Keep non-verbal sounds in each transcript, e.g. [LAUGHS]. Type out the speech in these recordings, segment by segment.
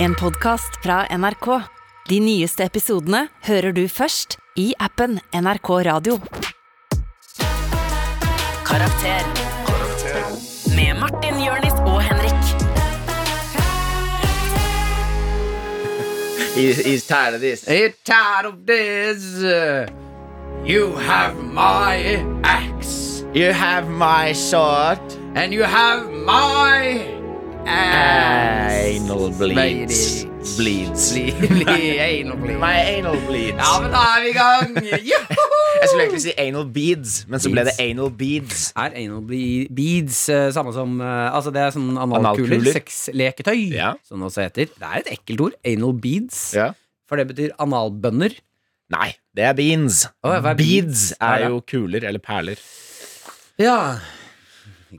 En podcast fra NRK. De nyeste episodene hører du først i appen NRK Radio. Karakter. Med Martin, Jørnis og Henrik. He, he's tired of this. He's tired of this. You have my axe, You have my sword. and you have my ass. Anal bleeds. Lady. Bleeds. Anal bleed. My anal bleeds. Ja, men da er vi i gang! Joho! Jeg skulle egentlig si anal beads, men så ble det Beads. anal beads. Er anal ble- beads eh, samme som eh, Altså, det er sånn analkuler. Analkuler. Sexleketøy, Ja. som det også heter. Det er et ekkelt ord. Anal beads. Ja. For det betyr analbønner. Nei, det er beans. Å, hva er beads beads? er Ja, ja. jo kuler eller perler. Ja.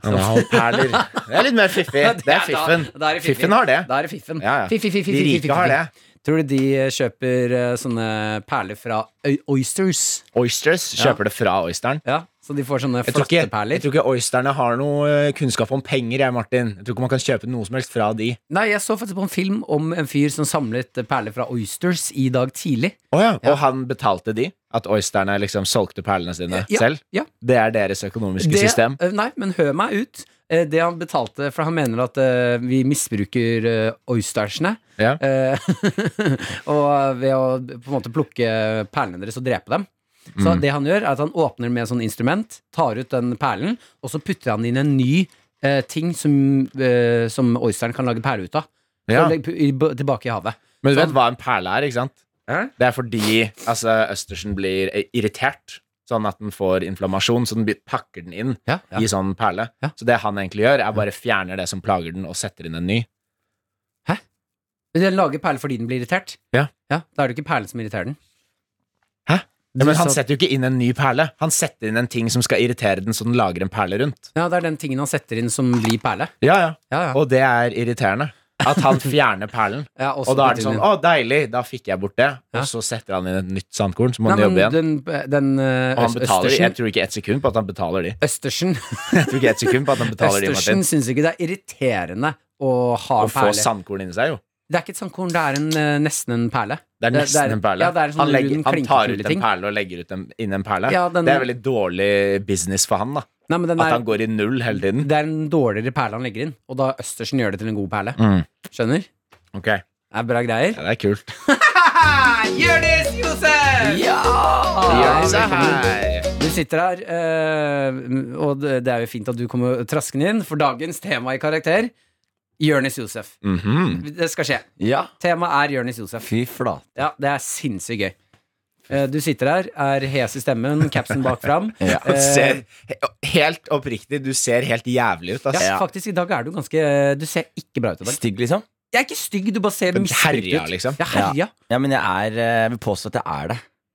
Analperler. Det er litt mer fiffig. Det er fiffen. Da, da er det fiffen. Fiffen har det. Da er det fiffen. Ja, ja. Fiffi, fiffi, De fiffi, rike har det. Tror du de eh, kjøper eh, sånne perler fra oy- oysters? Oysters kjøper det fra oysteren. Ja, så de får sånne Jeg tror, ikke, flotte jeg perler? tror ikke oysterne har noe eh, kunnskap om penger, jeg, Martin. Jeg tror ikke man kan kjøpe noe som helst fra de. Nei, jeg så faktisk på en film om en fyr som samlet eh, perler fra oysters i dag tidlig. Å ja. Og han betalte de? At oysterne liksom solgte perlene sine Ja, selv? ja. Det er deres økonomiske Det- system? eh, Nei, men hør meg ut. Eh, Det han betalte, for han mener at eh, vi misbruker eh, oystersene. Ja. Eh, [LAUGHS] og ved å på en måte plukke perlene deres og drepe dem. Så Mm. det han gjør, er at han åpner med et sånt instrument, tar ut den perlen, og så putter han inn en ny eh, ting som, eh, som oysteren kan lage perle ut av. Ja. Og legg- i- b- tilbake i havet. Men du Sånn. vet hva en perle er, ikke sant? Hæ? Det er fordi altså, østersen blir eh, irritert, sånn at den får inflammasjon, så den blir- pakker den inn Ja, ja. i sånn perle. Ja. Så det han egentlig gjør, er bare fjerner det som plager den, og setter inn en ny. Men Den lager perle fordi den blir irritert? Ja. Da er det ikke perlen som irriterer den. Hæ? Ja, men Du han sa- setter jo ikke inn en ny perle. Han setter inn en ting som skal irritere den, så den lager en perle rundt. Ja, det er den tingen han setter inn som blir perle. Ja, ja. Ja, ja. Og det er irriterende. At han [LAUGHS] fjerner perlen. Ja, Og da er det sånn 'Å, deilig, da fikk jeg bort det', Ja. og så setter han inn et nytt sandkorn, så må han Nei, men jobbe igjen. den, den eh, Og han Øst- betaler, jeg Østersen, tror ikke et sekund på at han betaler de. Østersen, Jeg tror ikke et sekund på at han [LAUGHS] betaler de, Martin. Østersen syns ikke det er irriterende å ha Å en få perle. sandkorn inni seg, jo. Det er ikke et sandkorn, det er en, eh, nesten en perle. Det er Det- det nesten er- en perle. ja, det er en sånn han, legger, han rund tar ut klinkekuleting. en perle og legger ut en, inn en perle. Ja, den- Det er veldig dårlig business for han, da. Nei, men den At er, han går i null hele tiden. Det er en dårligere perle han legger inn, og da Østersen gjør det til en god perle. Mm. Skjønner? Ok, ja, Det er bra greier. det er kult. Jonis Josef! Ja! Gjør det velkommen. her. Du sitter her, eh, og det det er jo fint at du kommer traskende inn, for dagens tema i karakter Jørnis Josef. Mhm. Det skal skje. Ja, Temaet er Jørnis Josef. fy flate. Ja, det er sinnssykt gøy. Eh, Du sitter her, er hes i stemmen, capsen bak [LAUGHS] fram. Ja. Du Eh, ser, helt oppriktig, du ser helt jævlig ut, ass. [LAUGHS] ja, faktisk, i dag er du ganske Du ser ikke bra ut i dag. Stygg, liksom? Jeg er ikke stygg, du bare ser Men misbrukt herja, ut. liksom. Ja, herja. Ja, men jeg er eh, vil påstå at jeg er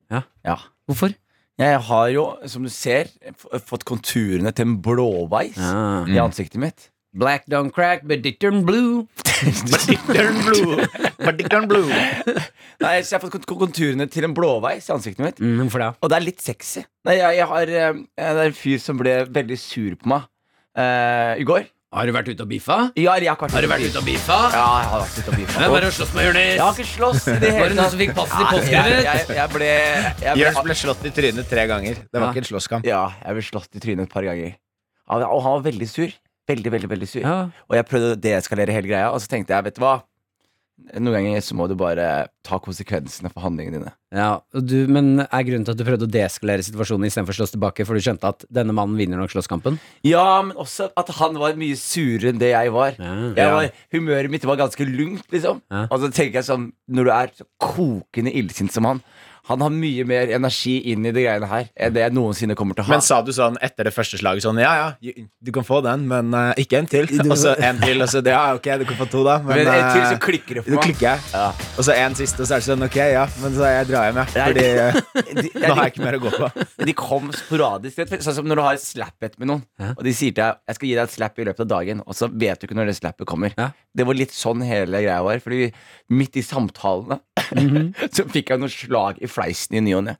det. Ja. Hvorfor? Jeg har jo, som du ser, f- fått konturene til en blåveis i ansiktet mitt. [LAUGHS] Black don't crack, but it turn blue. Partikkelen blod. Partikkelen blod. Nei, så jeg har fått kont- konturene til en blåveis i ansiktet mitt. Mm, hvorfor det? Og det er litt sexy. Nei, jeg, jeg har eh, Det er en fyr som ble veldig sur på meg eh, i går. Har du vært ute og biffa? Ja, jeg har ikke Har du vært ute ute og og biffa? biffa. Ja, jeg har vært ute og biffa. Hvem Og var det som slåss med Jonis? Jeg har ikke slåss i det Var det hele noen som tatt. fikk passet sitt Nei, Jeg, påskrevet? jeg, jeg ble, jeg ble Jørns ble slått i trynet tre ganger. Det var Ja. ikke en slåsskamp. Ja, jeg ble slått i trynet et par ganger. Ja, Og han var veldig sur. Veldig, veldig, veldig sur. Ja. Og jeg prøvde å deeskalere hele greia, og så tenkte jeg, vet du hva? Noen ganger så må du bare ta konsekvensene for handlingene dine. ja, og du, Men er grunnen til at du prøvde å deeskalere situasjonen istedenfor å slåss tilbake, for du skjønte at denne mannen vinner nok slåsskampen? Ja, men også at han var mye surere enn det jeg var. Jeg var humøret mitt var ganske lungt, liksom. Ja. Og så tenker jeg sånn, når du er så kokende illsint som han Han har mye mer energi inn i de greiene her enn det jeg noensinne kommer til å ha. Men sa du sånn etter det første slaget sånn Ja, ja, du kan få den, men eh, ikke en til. Og så en til, og så det, Ja, ok, du kan få to, da. Men, Men en til eh, så klikker det Nå for meg. klikker jeg. Ja. Og så en siste, og så er det sånn Ok, ja, men så jeg drar hjem, jeg. Fordi [LAUGHS] eh, De, nå har jeg ikke mer å gå på. de kom sporadisk. vet du. Sånn som når du har et slap-bet med noen, Ja. og de sier til deg 'jeg skal gi deg et slap i løpet av dagen', og så vet du ikke når det slappet kommer. Ja. Det var litt sånn hele greia var. Fordi midt i samtalene [LAUGHS] så fikk jeg noen slag i fleisen i ny og ne.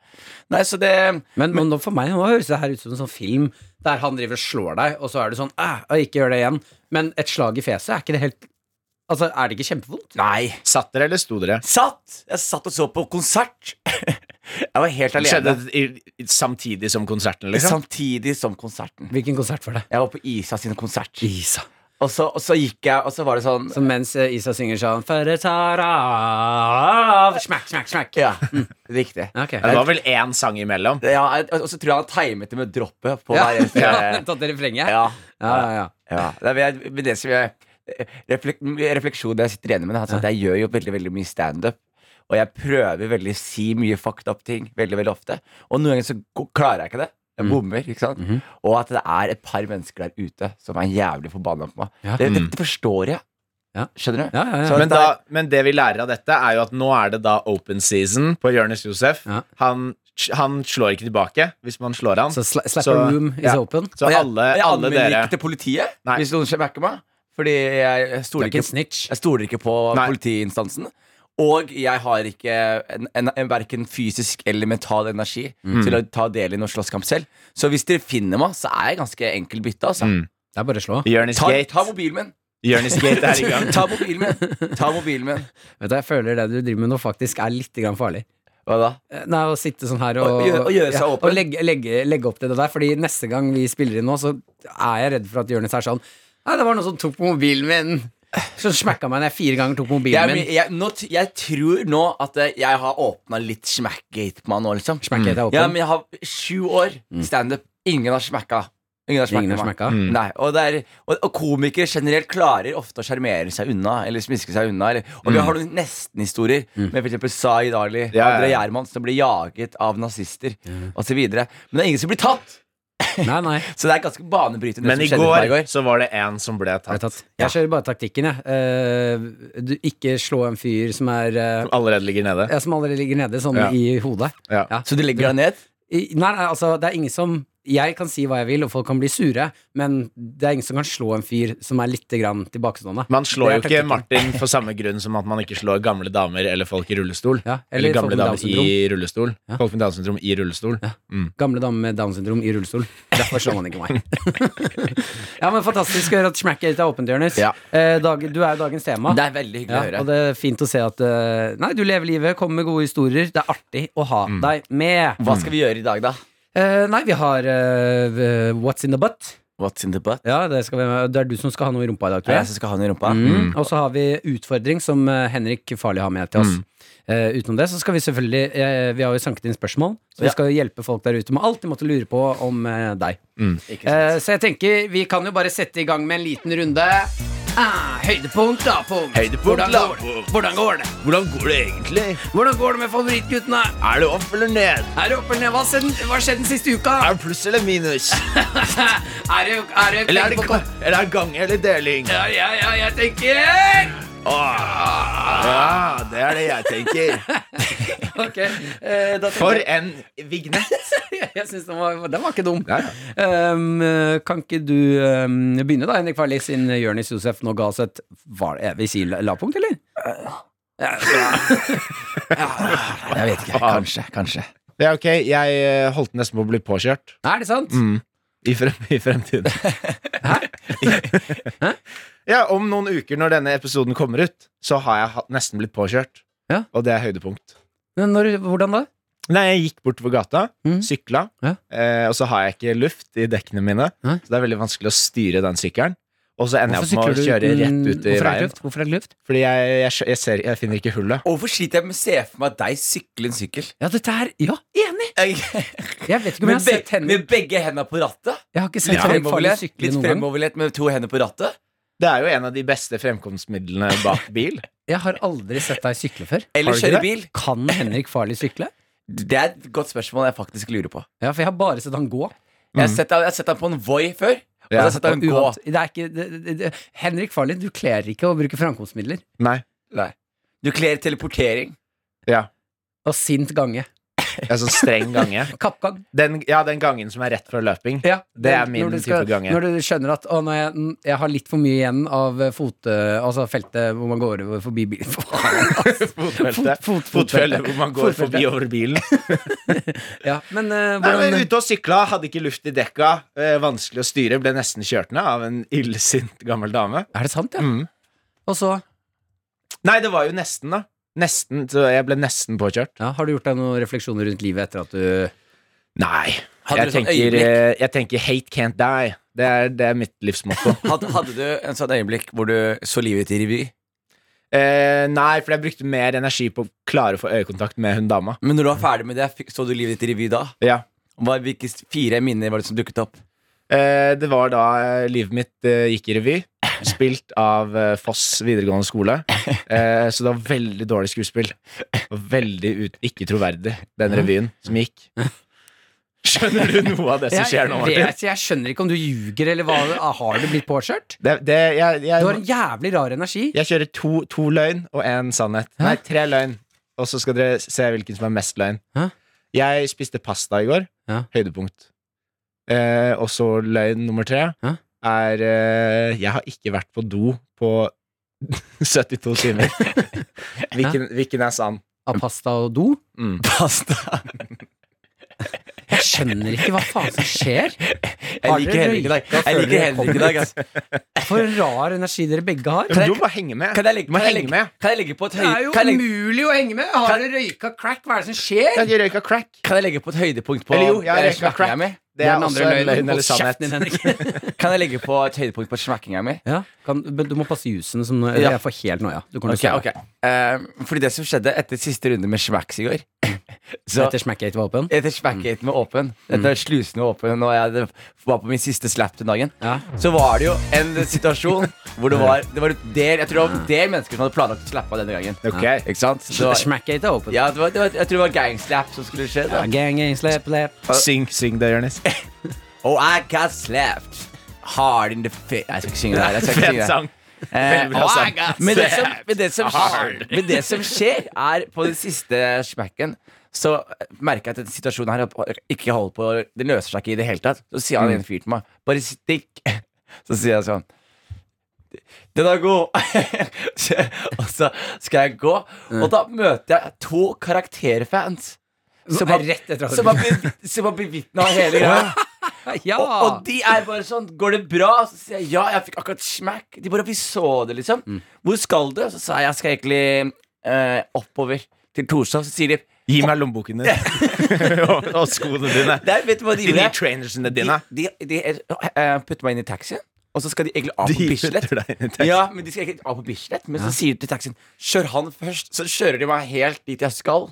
Nei, så det Men, men nå for meg nå høres det her ut som en sånn film der han driver og slår deg, og så er du sånn Æh, ikke gjør det igjen. Men et slag i fjeset, er ikke det helt Altså, er det ikke kjempevondt? Nei. Satt dere, eller sto dere? Satt! Jeg satt og så på konsert. [LAUGHS] Jeg var helt alene. Skjedde det i, i- samtidig som konserten, liksom? Samtidig som konserten. Hvilken konsert var det? Jeg var på Isa sin konsert. Isa. Og så, og så gikk jeg, og så var det sånn Så mens eh, Isa synger sånn Føre tar av Smack, smack, smack. Ja, mm, riktig. Ok. Det var vel én sang imellom. Ja, jeg- og så tror jeg han timet det med droppet på Ja, hver eneste ja, [LAUGHS] tatt det refrenget? Ja. ja, ja, ja. Ja, det er jeg- men det som jeg reflek, Refleksjonen jeg sitter igjen med, er at jeg gjør jo veldig veldig mye standup. Og jeg prøver veldig å si mye fucked up ting veldig veldig ofte. Og noen ganger så go- klarer jeg ikke det. Mm. Jeg bommer. ikke sant? Mm-hmm. Og at det er et par mennesker der ute som er jævlig forbanna på meg. Ja. Mm. Det, dette forstår jeg. Ja. Skjønner du? Ja, ja, ja. Så Men, det er- da, men det vi lærer av dette, er jo at nå er det da open season på Jonis Josef. Ja. Han, han slår ikke tilbake hvis man slår han. Så Så, sla, slap Så- a room is ja. open. og jeg, alle, og jeg alle anmelder dere ikke til politiet Nei. hvis noen smacker meg. Fordi jeg, jeg Du stoler er ikke ikke en snitch. Jeg stoler ikke på Nei. politiinstansen. Og jeg har ikke en, en, en verken fysisk eller mental energi Mm. til å ta del i noen slåsskamp selv. Så hvis dere finner meg, så er jeg ganske enkel bytte. Altså. Mm. Det er bare å slå. Jonis Ta, ta Gate. mobilen min! Jonis Gate er i [LAUGHS] gang. [LAUGHS] ta mobilen min! Ta mobilen min. Vet du, Jeg føler det du driver med nå, faktisk er litt grann farlig. Hva da? Eh, Nei, Å sitte sånn her og, Og gjøre- og gjøre seg åpen. og legge, legge, legge opp til det der. Fordi neste gang vi spiller inn nå, så er jeg redd for at Jonis er sånn Nei, det var noen som tok på mobilen min. Så smakka meg når jeg fire ganger tok mobilen Jeg, min. jeg, nå, t- jeg tror nå at eh, jeg har åpna litt smackgate på meg nå, liksom. Smack it er Ja, åpen. men jeg har sju år standup. Ingen har smacka. Ingen har Ingen har meg. smacka? Mm. Nei, og, det er, og, og komikere generelt klarer ofte å sjarmere seg unna, eller smiske seg unna. Eller, og vi har noen nestenhistorier med f.eks. Zaid Ali, Ja, ja. André Gjerman, som blir jaget av nazister osv. Men det er ingen som blir tatt! Nei, nei. Så det er ganske banebrytende. Men det i som skjedde for meg går så var det én som ble Ble tatt. tatt. Jeg kjører bare taktikken, jeg. Eh, du, ikke slå en fyr som er eh, Allerede ligger nede. ja, Som allerede ligger nede, sånn Ja. i hodet. Ja. Ja. Så du legger deg ned? I- Nei, nei, altså, det er ingen som Jeg kan si hva jeg vil, og folk kan bli sure, men det er ingen som kan slå en fyr som er litt grann tilbakestående. Man slår jo Det ikke er taktikken. Martin for samme grunn som at man ikke slår gamle damer eller folk i rullestol. Ja, Eller, eller gamle folk med Downs damer syndrom. i rullestol. Ja. Folk med Downs syndrom i rullestol. Mm. Gamle dame med Downs syndrom i rullestol. Derfor slår man ikke meg. [LAUGHS] ja, men Fantastisk å høre at smacket ditt er åpent, Jonis. Ja. Eh, dag, du er jo dagens tema. Det er veldig hyggelig ja, å høre. og det er fint å se at eh, Nei, du lever livet, kommer med gode historier. Det er artig å ha deg med. Mm. Hva skal vi gjøre i dag, da? Eh, nei, vi har eh, What's in the butt. What's in the butt? Ja, det, skal vi, det er du som skal ha noe i rumpa i dag, Det tror er jeg. jeg som skal ha den i rumpa. Mm. Og så har vi utfordring som eh, Henrik Farley har med til oss. Eh, utenom det så skal vi selvfølgelig eh, Vi har jo sanket inn spørsmål, så vi Ja. skal hjelpe folk der ute med alt de måtte lure på om eh, deg. Ikke sant? Eh, så jeg tenker vi kan jo bare sette i gang med en liten runde. Ah, høydepunkt, lavpunkt. Høydepunkt, hvordan, går, lavpunkt. hvordan går det? Hvordan går det egentlig? Hvordan går det med favorittguttene? Er det opp eller ned? Er det oppe eller ned? Hva har skjedd, hva har skjedd den siste uka? det pluss eller minus? Er det, er det, penger på kon- eller er det gange eller deling? ja, ja, ja, jeg tenker Ah. Ja, det er det jeg tenker. Ok, eh, da tenker For jeg- en vignett. Jeg [LAUGHS] synes den, var, den var ikke dum. Ja, Um, kan ikke du um, begynne, da, Henrik Farli, siden Jonis Josef nå ga oss et var, eh, Vi sier la- lavpunkt, eller? Jeg vet ikke. Kanskje. Kanskje. Det er ok, jeg eh, holdt nesten på å bli påkjørt. Er det Mm. sant? I, frem, i fremtiden. ja, om noen uker når denne episoden kommer ut, så har jeg ha- nesten blitt påkjørt. Ja. Og det er høydepunkt. Men når, hvordan da? Nei, jeg gikk bortover gata, Mm. sykla, Ja. eh, og så har jeg ikke luft i dekkene mine. Nei. Så det er veldig vanskelig å styre den sykkelen. Og så ender jeg opp sykler med å kjøre uten- rett ut i veien. hvorfor er det luft? Hvorfor er det luft? Fordi jeg, jeg, skj- jeg, ser, jeg finner ikke hullet. Hvorfor sliter jeg med å se for meg deg sykle en sykkel? Ja, dette er Ja, enig! Jeg- Jeg vet ikke om jeg Med, har be sett henne med begge hendene på rattet? Jeg har ikke sett Litt ja, farlig fremoverlent, sykle litt noen gang. fremoverlent med to hender på rattet? Det er jo en av de beste fremkomstmidlene bak bil. Jeg har aldri sett deg sykle før. Eller Har du ikke det? kjøre bil? Kan Henrik Farli sykle? Det er et godt spørsmål jeg faktisk lurer på. Ja, for jeg har bare sett han gå. Jeg har sett deg- jeg har sett deg på en Voi før. Og så har jeg sett deg Mm. Og gå. uant- det er ikke, det, det, det, Henrik Farli, du kler ikke å bruke framkomstmidler. [LAUGHS] Nei. Nei. Du kler teleportering. Ja. Og sint gange. Jeg er sånn streng gange. Kappgang. Den, ja, den gangen som er rett før [LAUGHS] løping. Ja, Det er når min du skal- type gange. Når du skjønner at å, når jeg, n- jeg har litt for mye igjen av eh, fot, eh, altså feltet hvor man går over forbi [LAUGHS] bilen Fotfeltet. Fot- fot- Fotfeltet hvor man går Fotfeltet. forbi over bilen. [LAUGHS] Ja, men eh, Nei, men hvordan ute og sykla, hadde ikke luft i dekka, eh, vanskelig å styre, ble nesten kjørt ned av en illsint gammel dame. Er det sant, ja? Mm. Og så Nei, det var jo nesten, da. Nesten, så Jeg ble nesten påkjørt. Ja, har du gjort deg noen refleksjoner rundt livet etter at du Nei. Hadde Jeg du sånn tenker, øyeblikk? eh, jeg tenker 'hate can't die'. Det er, det er mitt [LAUGHS] livsmotto. Hadde, hadde du en sånn øyeblikk hvor du så livet i revy? eh, nei, for jeg brukte mer energi på å klare å få øyekontakt med hun dama. Men når du var ferdig med det, fikk- så du livet ditt i revy da? Ja. Hva, hvilke fire minner var det som dukket opp? [LAUGHS] Eh, det var da eh, livet mitt eh, gikk i revy, spilt av eh, Foss videregående skole. Eh, så det var veldig dårlig skuespill. Og veldig ut, ikke troverdig, den revyen som gikk. Skjønner du noe av det som skjer nå, Martin? Jeg, jeg skjønner ikke om du ljuger, eller hva Har du blitt påkjørt? Det, det, jeg, jeg, Du har en jævlig rar energi. Jeg kjører to, to løgn og én sannhet. Nei, tre løgn. Og så skal dere se hvilken som er mest løgn. Hæ? Jeg spiste pasta i går. Ja. Høydepunkt. Eh, og så løgn nummer tre Hæ? er eh, Jeg har ikke vært på do på [LAUGHS] 72 timer. hvilken, hvilken er sann? Av pasta og do. Mm. Pasta. Jeg skjønner ikke hva faen som skjer. Har Jeg liker dere heller ikke deg. røyka før Jeg liker dere heller kom ikke deg, ass. For en rar energi dere begge har. Du må bare henge med. Kan jeg legge, Du må kan jeg henge legge, med. kan jeg legge på et Det er høy- jo kan jeg legge- umulig å henge med. Har dere røyka crack? Hva er det som skjer? Jeg røyka crack. kan jeg legge på et høydepunkt på Eller jo, jeg har eh, røyka smackinga crack. mi? Det er den også en løgn eller Hold sannhet. kjeften din, Henrik. [LAUGHS] Kan jeg legge på et høydepunkt på smackinga mi? ja, kan, men du må passe jusen. Som, nå- Ja. Jeg får helt noia. Du kommer Ok, til å ok Eh, Fordi det som skjedde etter siste runde med smacks i går [LAUGHS] se Så etter Mm. Smackgate var åpen. etter smackgaten var åpen, etter slusene var åpen, og jeg hadde- var på min siste slap den dagen, Ja. så var det jo en situasjon hvor det var, det var en del, Jeg tror det var en del mennesker som hadde planlagt å slappe av denne gangen. Ok. Ikke sant? Så det var, Smackgate er åpen. ja, det var, det var, jeg tror det var gangslap som skulle skje. Da. Gang, gang, slap, slap. Syng, syng det, Jonis. Oh, I got slapped hard in the face Jeg skal ikke synge det her. Jeg skal [LAUGHS] ikke Fet synge det. sang. Eh, Veldig bra oh, I sang. got men, det som, men, det som, Hard. men det som skjer, er på den siste smacken så merker jeg at denne situasjonen her ikke holder på Det løser seg ikke i det hele tatt. Så sier han en fyr til meg Bare stikk. [LAUGHS] Så sier jeg sånn Den er god. [LAUGHS] Så- og så skal jeg gå, og da møter jeg to karakterfans. Som har, Rett etter at du- som har, bevi- som har bevitna hele [LAUGHS] greia. Ja! Og, og de er bare sånn Går det bra? Så sier jeg ja, jeg fikk akkurat smack. De bare Vi så det, liksom. Mm. Hvor skal du? Så sa jeg jeg skal egentlig eh, oppover til Torshov. Så sier de Gi meg lommeboken din. [LAUGHS] og, og skoene dine. Der, vet du hva de De nye gjorde? trainersene De, dine. de, de eh, putter meg inn i taxien, og så skal de egentlig av på Bislett. putter deg inn i taxi. Ja, men de skal egentlig av på Bislett Men så sier de til taxien Kjør han først. Så kjører de meg helt dit jeg skal.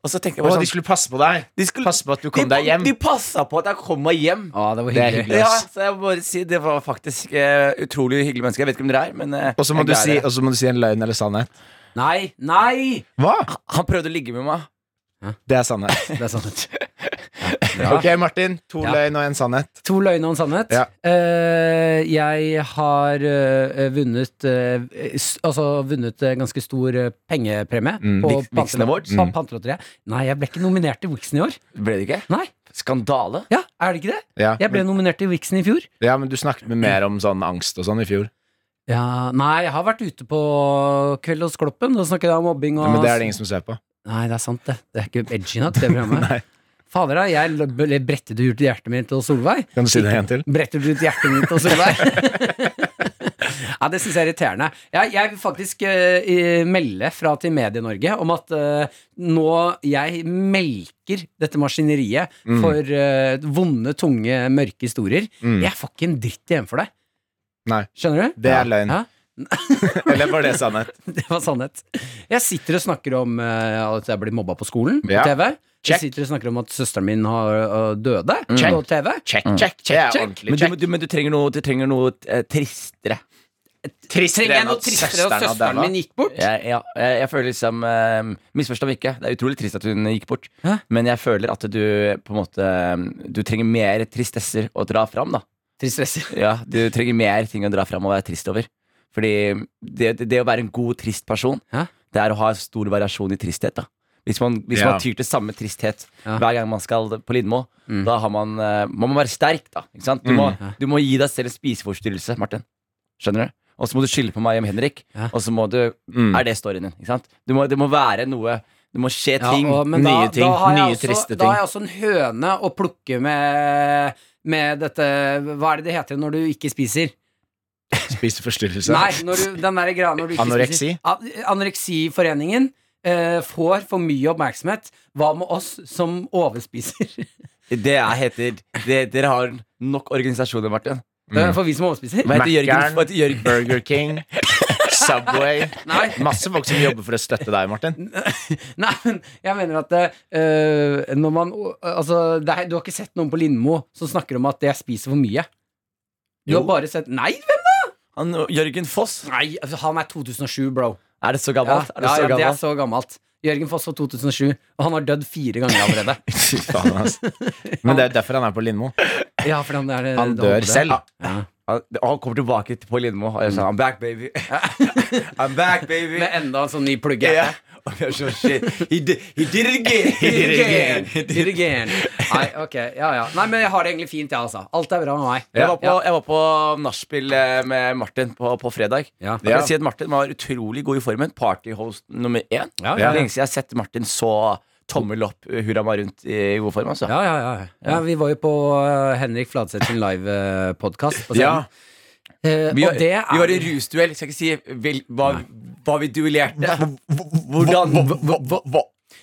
Og så tenker jeg Å, bare sånn de skulle passe på deg. de skulle- passe på at du kom de, deg hjem. De passa på at jeg kom meg hjem. Ja, Ah, det var Det er hyggelig. hyggelig. Ja, ass. så jeg må bare si Det var faktisk eh, utrolig hyggelig menneske. Jeg vet ikke om dere er, men eh, Og så må, jeg du gleder si, dere. og så må du si en løgn eller sannhet. Nei, nei! Hva? Han prøvde å ligge med meg. Det er sannhet. Det er sånn- sant. Ok, Martin. To Ja. løgn og en sannhet. To løgner og en sannhet. Ja. Eh, jeg har eh, vunnet eh, s- Altså vunnet eh, ganske stor eh, pengepremie Mm. på Vix- Vixen pantelot- Awards? pa- Pantelotteriet. Nei, jeg ble ikke nominert til Wixen i år. Ble det ikke? Nei, Skandale. ja, er det ikke det? Ja. Jeg ble Men, nominert til Wixen i fjor. ja, men du snakket med mer om sånn angst og sånn i fjor. Ja, nei, jeg har vært ute på Kveld hos Kloppen og snakket om mobbing og Ja, men det er det ingen som ser på. Nei, det er sant, det. Det er ikke edgy nok, det [LAUGHS] programmet. Fader, da. Jeg l- ble- brettet ut hjertet mitt til Solveig. Kan du si det en gang til? Bretter du ut hjertet mitt og sånn der? [LAUGHS] ja, det syns jeg er irriterende. Jeg, jeg vil faktisk eh, eh, melde fra til Medie-Norge om at eh, nå jeg melker dette maskineriet for eh, vonde, tunge, mørke historier. Mm. Jeg får ikke en dritt igjen for det. Nei. Skjønner du? Det er løgn. Ja, [LAUGHS] [LAUGHS] Eller var det sannhet? det var sannhet. Jeg sitter og snakker om eh, at jeg blir mobba på skolen på Ja. TV. Check. Jeg sitter og snakker om at søsteren min har eh, døde Check. på TV. Check, check, check. Det er ordentlig Men du, check. du, men du trenger noe, du trenger noe eh, tristere. Trenger jeg noe tristere at søsteren søsteren hadde min gikk bort? Jeg, ja, jeg, jeg føler liksom eh, Misforstå meg ikke. Det er utrolig trist at hun gikk bort. Hæ? Men jeg føler at du på en måte eh, Du trenger mer tristesser å dra fram, da. Tristresser. Ja, du trenger mer ting å dra fram og være trist over. Fordi det, det, det å være en god, trist person, Hæ? det er å ha stor variasjon i tristhet. da Hvis man, hvis Ja. man tyr til samme tristhet Ja. hver gang man skal på Lindmo, Mm. da har man, eh, man må være sterk. da ikke sant? Du, må, Ja. du må gi deg selv en spiseforstyrrelse, Martin. Skjønner du? Og så må du skylde på meg og Henrik, Ja. og så må du Mm. Er det storyen din? Ikke sant? Du må, det må være noe Det må skje Ja, ting. og- men da- nye ting, Da har jeg nye også, triste Da har ting. jeg også en høne å plukke med, med dette Hva er det det heter når du ikke spiser? spiseforstyrrelse. Nei, når du, den der greia når du ikke Anoreksi? spiser- A- Anoreksiforeningen eh, får for mye oppmerksomhet. Hva med oss som overspiser? Det er, heter det, Dere har nok organisasjoner, Martin. Mm. Eh, For vi som overspiser? Hva heter Mac-eren. Jørgen? Hva heter Jørgen? Burger King, Subway [LAUGHS] Nei. Masse folk som jobber for å støtte deg, Martin. [LAUGHS] Nei, men jeg mener at eh, når man Altså, det er, du har ikke sett noen på Lindmo som snakker om at jeg spiser for mye. Du har bare sett Nei, hvem? Han, Jørgen Foss? Nei, altså, han er 2007, bro. Er det så Ja, gammelt? Er det ja, så ja, det er gammelt? så gammelt. Jørgen Foss var 2007, og han har dødd fire ganger allerede. [LAUGHS] Fy faen, ass. Men det er derfor han er på Lindmo. [LAUGHS] Ja, for han, er, eh, Han dør selv. Han, han kommer tilbake til- på Lindmo og jeg sa I'm back, [LAUGHS] baby. I'm back, baby. Med enda en sånn ny plugge. [LAUGHS] Ja. [LAUGHS] Og jeg sånn, shit. He did, he did it again. He did it [LAUGHS] again. He did it again. Dirigen. Nei, ok, ja, ja. Nei, men jeg har det egentlig fint, jeg, altså. Alt er bra med meg. Jeg var på, jeg var på nachspiel eh, med Martin på, på fredag. Ja. Jeg kan si at Martin var utrolig god i formen. Partyhost nummer Ja, én. Det ja, er ja. Lenge siden jeg har sett Martin så tommel opp, eh, hurra meg rundt i god form. Altså. Ja, ja, ja. ja, vi var jo på eh, Henrik Fladseth sin live-podkast på scenen. Eh, Vi, og var, det er vi var i rusduell. Skal ikke si vel, hva, hva vi duellerte. Hvordan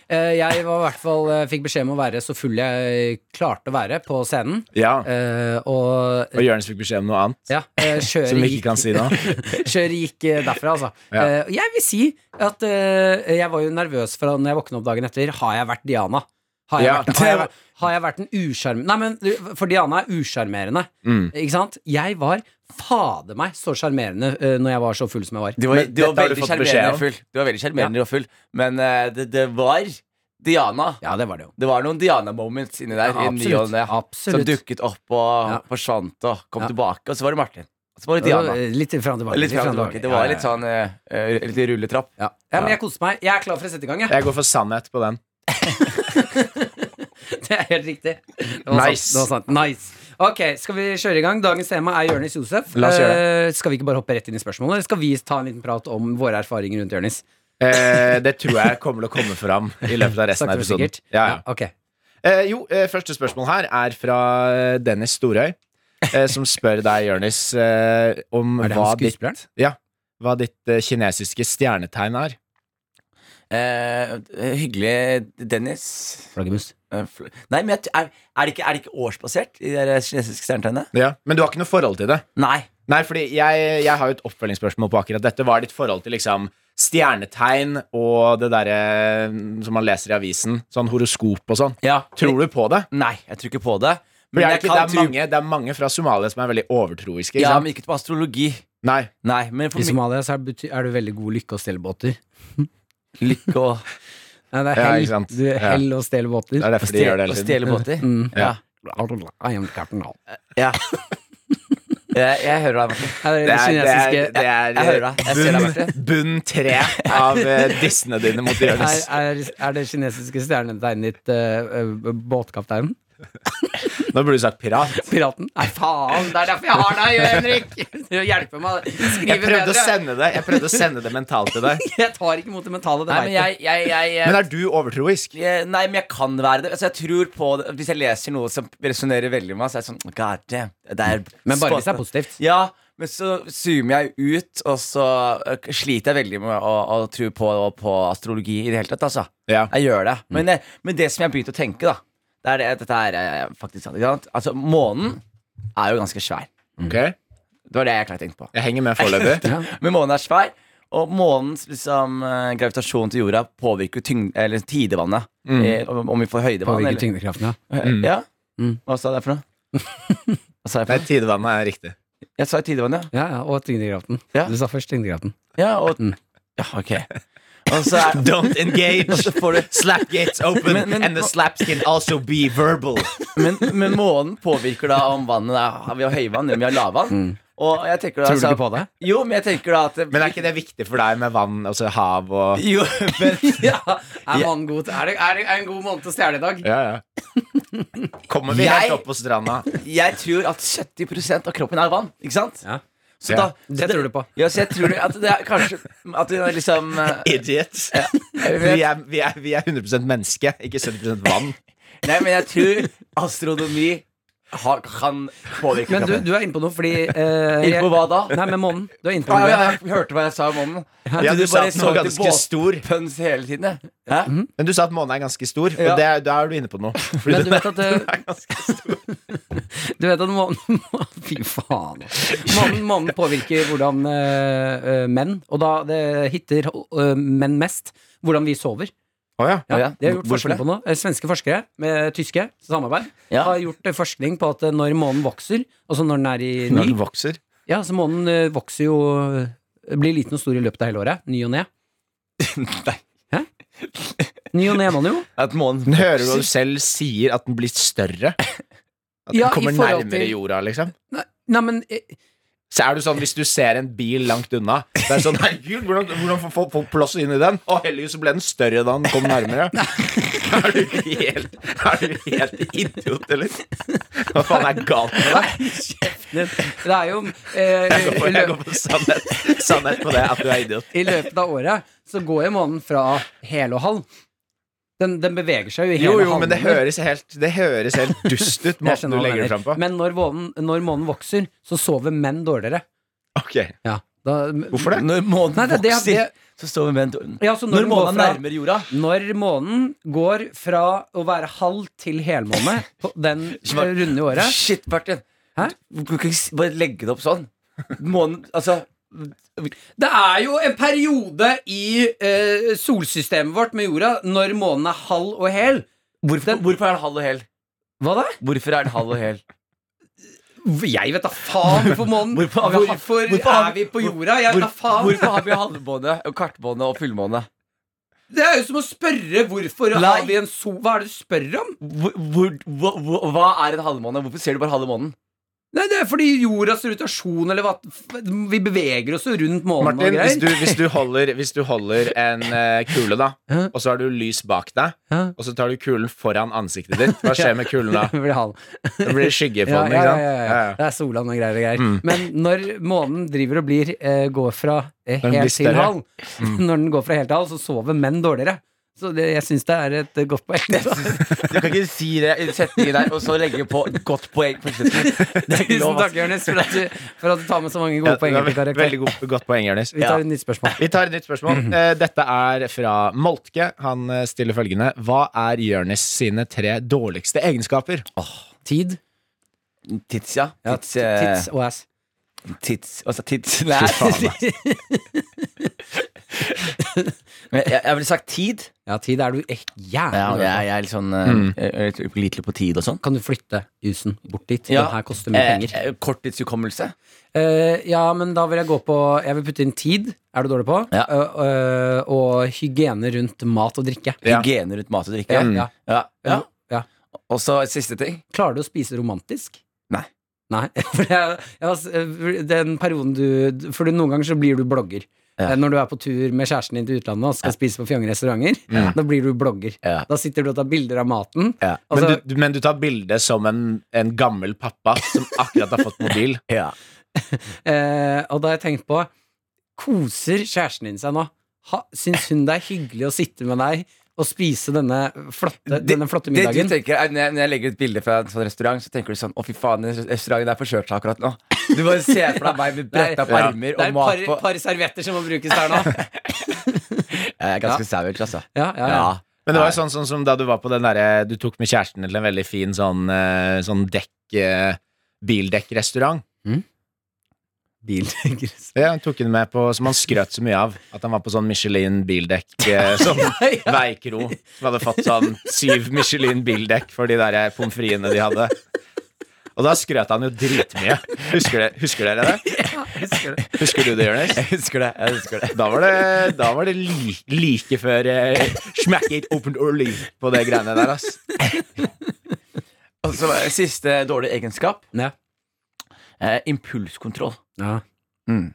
Eh, Jeg var i hvert fall eh, fikk beskjed om å være så full jeg klarte å være på scenen. Ja. Eh, og Og Jonis fikk beskjed om noe annet, ja, eh, som kjøret vi ikke gikk, kan si nå. [LAUGHS] kjøret gikk eh, derfra, altså. Ja. Eh, og jeg vil si at eh, jeg var jo nervøs fra når jeg våkna opp dagen etter. Har jeg vært Diana? Har jeg, Ja, vært, har jeg, det- vært- har jeg vært en usjarmerende Nei, men du, for Diana er usjarmerende, Mm. ikke sant? Jeg var fader meg så sjarmerende eh, når jeg var så full som jeg var. Du var, Men du var dette har du veldig fått beskjed sjarmerende om. og full. Du var veldig sjarmerende og full. Men eh, det, det var Diana. Ja, det var det jo. Det var noen Diana-moments inni der. i ny og absolutt. ne, Som absolutt. dukket opp og Ja. forsvant og kom Ja. tilbake. Og så var det Martin. Og så var det Det var Diana. Litt fram og tilbake. Litt fram og tilbake. Det var Ja, litt sånn eh, eh, litt rulletrapp. Ja. ja, men jeg koser meg. Jeg er klar for å sette i gang, jeg. Jeg går for sannhet på den. [LAUGHS] Det er helt riktig. Det var Nice. Sant. Det var sant. Nice. Ok, skal vi kjøre i gang? Dagens tema er Jonis Josef. La oss gjøre Eh, skal vi ikke bare hoppe rett inn i spørsmålet, eller skal vi ta en liten prat om våre erfaringer rundt Jonis? Eh, det tror jeg kommer til å komme fram i løpet av resten av Sakte, episoden. men sikkert. Ja, ja. ok. Eh, jo, eh, første spørsmål her er fra eh, Dennis Storøy, eh, som spør deg, Jonis, eh, om Er det hva han ditt, skuespilleren? hva ditt eh, kinesiske stjernetegn er. Eh, hyggelig, Dennis. Flaggermus. Eh, fl- Nei, men jeg, t- er, er, det ikke, er det ikke årsbasert, de der kinesiske stjernetegnene? Ja. Men du har ikke noe forhold til det? Nei. Nei, fordi jeg, jeg har jo et oppfølgingsspørsmål på akkurat dette. Hva er ditt forhold til liksom stjernetegn og det derre mm, som man leser i avisen? Sånn horoskop og sånn. Ja. Tror du på det? Nei, jeg tror ikke på det. For det, er, ikke- jeg kan det, er tro- mange, det er mange fra Somalia som er veldig overtroiske. Ikke Ja, sant? men ikke på astrologi. Nei. Nei, men for I Somalia så er, bety- er du veldig god lykke og stelle båter. [LAUGHS] mye lykke og, Nei, det er Ja, hell, ikke sant. du er Ja. hell og stelle båter. Det er derfor [LAUGHS] de gjør det og hele tiden. stjele båter. Mm. Ja. I am captain now. ja. Jeg, jeg hører deg, Martin. Er det, Det er, det er, kinesiske- det er, Jeg hører deg. Jeg ser deg, bunn, bunn tre av eh, dissene dine mot Jonis. er, er, er det kinesiske stjernetegnet ditt eh, eh, båtkapteinen? Nå burde du sagt pirat. Piraten? Nei, faen! Det er derfor jeg har deg, Henrik! [LAUGHS] Du hjelper meg å Jeg skrive prøvde å bedre. sende det Jeg prøvde å sende det mentalt til [LAUGHS] deg. [LAUGHS] Jeg tar ikke imot det mentale, det Nei, veit men jeg. jeg, jeg, jeg, jeg Men er du overtroisk? Eh, Nei, men jeg kan være det. Altså, jeg tror på det. Hvis jeg leser noe som resonnerer veldig med meg, så er jeg sånn God damn. Det er Men bare hvis det er positivt. Ja, men så zoomer jeg ut, og så eh, sliter jeg veldig med å, å tro på, på astrologi i det hele tatt, altså. Ja. Jeg gjør det. Mm. Men, eh, men det som jeg har begynt å tenke, da, det er det, dette er eh, faktisk sant. Ikke sant? Altså, månen er jo ganske svær. Ok, Det var det jeg klarte å tenke på. Jeg henger med [LAUGHS] foreløpig. Men månen er svær, og månens liksom, eh, gravitasjon til jorda påvirker tyngd, eller tidevannet. Eh, om om vi får høydevann. Mm. Påvirker eller- tyngdekraften, ja. ja? Mm. Hva sa [LAUGHS] jeg for noe? Hva sa jeg Nei, for noe? tidevannet er riktig. Jeg sa tidevannet, Ja, ja, Og tyngdekraften. Ja. Du sa først tyngdekraften. ja. Ja, og Mm. Ja, ok. Og så er Don't engage. og så får du Slap gates open, Men- men- and the slaps can also be verbal. men, men månen påvirker da om vannet er Vi har høyvann, eller om vi har lavvann. Og jeg tenker da Mm. altså- Tror du så- ikke på det? Jo, men jeg tenker da at Men er ikke det viktig for deg med vann, altså hav og Jo, men [LAUGHS] Ja, Er mannen god til- Er det, er det er en god måned til å stjele i dag? Ja, ja. Kommer vi Jeg- helt opp på stranda? jeg tror at 70 av kroppen er vann, ikke sant? Ja. Så Ja. da Det tror du på. Ja, så jeg tror at det er kanskje At det er liksom eh, Idiots. Vi er, vi er, vi er 100 menneske, ikke 70 vann. Nei, men jeg tror astronomi ha, kan påvirke Men du, kroppen. du er inne på noe, fordi eh, Inne på jeg- hva da? Nei, med månen. Du er inne på Ja, noe. ja, jeg hørte hva jeg sa om månen. Ja, du sa at den var til ganske stor. båtpuns hele tiden. jeg. Hæ? [LAUGHS] Men du sa at månen er ganske stor, Ja. og det, er- da er du inne på noe. Fordi den Men du vet at eh, er ganske stor. [LAUGHS] Du vet at månen Fy faen. Månen, månen påvirker hvordan eh, eh, menn, og da det hitter eh, menn mest, hvordan vi sover. Å ja. Å ja, Det har gjort hvorfor forskning på nå. Eh, Svenske forskere med tyske samarbeid Ja. har gjort eh, forskning på at eh, når månen vokser, altså når den er i ny Når den vokser. Ja, så månen eh, vokser jo eh, Blir liten og stor i løpet av hele året. Ny og ned. Nei. Ny og ned må den jo. At månen Den hører du hva du selv sier, at den blir større. At den Ja, i kommer forhold nærmere til- jorda, liksom. Nei, nei men eh, Så er du sånn, Hvis du ser en bil langt unna Det er [LAUGHS] sånn, herregud, Hvordan, hvordan får folk- folk plass inn i den? Å, heldigvis så ble den større da den kom nærmere. [LAUGHS] Er du helt, er du helt idiot, eller? Hva faen er galt med deg? det, det er jo eh, Jeg går for, jeg i løpet- går for sannhet, sannhet på det, at du er idiot. I løpet av året så går jo månen fra hel og halv. Den, den beveger seg jo i hele Jo, jo, men det halvmåner. høres helt, det høres helt dust [LAUGHS] ut, Jeg måten skjønner du hva legger det mener. fram på. Men når månen, når månen vokser, så sover menn dårligere. Ok, Ja, da, Hvorfor det? Når månen Nei, det, det, vokser, det, så står vi med en dår- ja, så når, Når den går månen er fra, nærmere jorda når månen går fra å være halv til helmåne på den [LAUGHS] runde i året Shit, Martin. Hæ? Du kan ikke s- bare legge det opp sånn. Månen Altså, Det er jo en periode i eh, solsystemet vårt med jorda når månen er halv og hel. hvorfor, Den- hvorfor er den halv og hel? Hva da? Hvorfor er den halv og hel? Jeg vet da faen hvorfor månen [LAUGHS] Hvorfor Hvorfor, har vi- hvorfor har er vi på hvor- jorda? Jeg vet da Hvor- faen Hvorfor har vi halvmåne, og kartmåne og fullmåne? Det er jo som å spørre hvorfor Nei. har vi en sol Hva er det du spør om? Hvor, hvor, hva, hva- hva er en halvmåne? Hvorfor ser du bare halve månen? Nei, det er fordi jordas rotasjon eller hva Vi beveger oss jo rundt månen Martin, og hvis greier. du, hvis du, holder, hvis du holder en eh, kule, da, Ja. og så har du lys bak deg, Ja. og så tar du kulen foran ansiktet ditt, hva skjer med kulen [LAUGHS] da? [LAUGHS] Det blir halv. Det blir skygge på Ja, den, ja, ikke ja, sant? ja, ja. Ja, ja. Det er sola og greier og greier. Mm. Men når månen driver og blir eh, går fra eh, den blir helt til større. halv, [LAUGHS] når den går fra helt til halv, så sover menn dårligere. Så det, jeg syns det er et eh, godt poeng. Du kan ikke si det i setningen der, og så legge på et godt poeng på slutten. Det er [LAUGHS] ikke Tusen lov, ass. takk, Jonis, for, at du- for at du tar med så mange gode Ja, poenger det til var karakter. Veldig god, godt poeng, Jonis. Vi tar et nytt spørsmål. Vi tar et nytt spørsmål. Eh, Dette er fra Moltke. Han eh, stiller følgende Hva er Jonis sine tre dårligste egenskaper? Tid. Tits, altså. ja. Ja, Tits, eh, tids og ass. Tits Altså tits Nei faen, altså. Men jeg, jeg ville sagt tid [LAUGHS] Ja, tid er du echt ja, jævlig jeg, ja, jeg er litt sånn eh, jeg er litt Litlig på tid og sånn Kan du flytte jusen bort dit? Ja. Den her koster mye penger. eh, eh, Korttidshukommelse Eh, ja, men da vil jeg gå på Jeg vil putte inn tid, er du dårlig på, Ja. eh, eh, og hygiene rundt mat og drikke. Ja. Hygiene rundt mat og drikke Ja, ja. ja. Ja. Ja. Ja. Og så et siste ting Klarer du å spise romantisk? Nei. Nei, [LAUGHS] for jeg, jeg, var- eh, den perioden du For noen ganger så blir du blogger. Ja. Eh, Når du er på tur med kjæresten din til utlandet og skal spise på fjonge restauranter, Ja. [LAUGHS] da blir du blogger. Mm. Ja. Da sitter du og tar bilder av maten. Ja. Men Altså, du, men du tar bilde som en, en gammel pappa som akkurat har fått mobil. ja. eh, og da har jeg tenkt på Koser kjæresten din seg nå? Ha, syns hun det er hyggelig å sitte med deg og spise denne flotte, Det- denne flotte Det du middagen? tenker er, når, jeg, når jeg legger ut bilder fra en sånn restaurant Så tenker du sånn Å fy faen, den restauranten er forkjørt akkurat nå Du bare ser for deg meg med bretta opp Ja. armer det er Og et mat par, på par servietter som må brukes der [LAUGHS] nå. Jeg er ganske savage altså Ja, ja, ja. Men det var jo sånn, sånn som da du var på den derre Du tok med kjæresten til en veldig fin sånn, eh, sånn dekk eh, bildekkrestaurant. [LAUGHS] Bildekk. Det han tok han med på, som han skrøt så mye av. At han var på sånn Michelin bildekk, eh, sånn ja. veikro. Som hadde fått sånn syv Michelin bildekk for de der pommes fritesene de hadde. Og da skrøt han jo dritmye. Husker, det, husker dere det? Husker du det, Jonis? Jeg husker det, jeg husker det Da var det, da var det li, like før eh, Smack it open or leave på det greiene der, ass. Og så eh, siste dårlig egenskap [LAUGHS] Ja. eh, Impulskontroll Ja. Mm.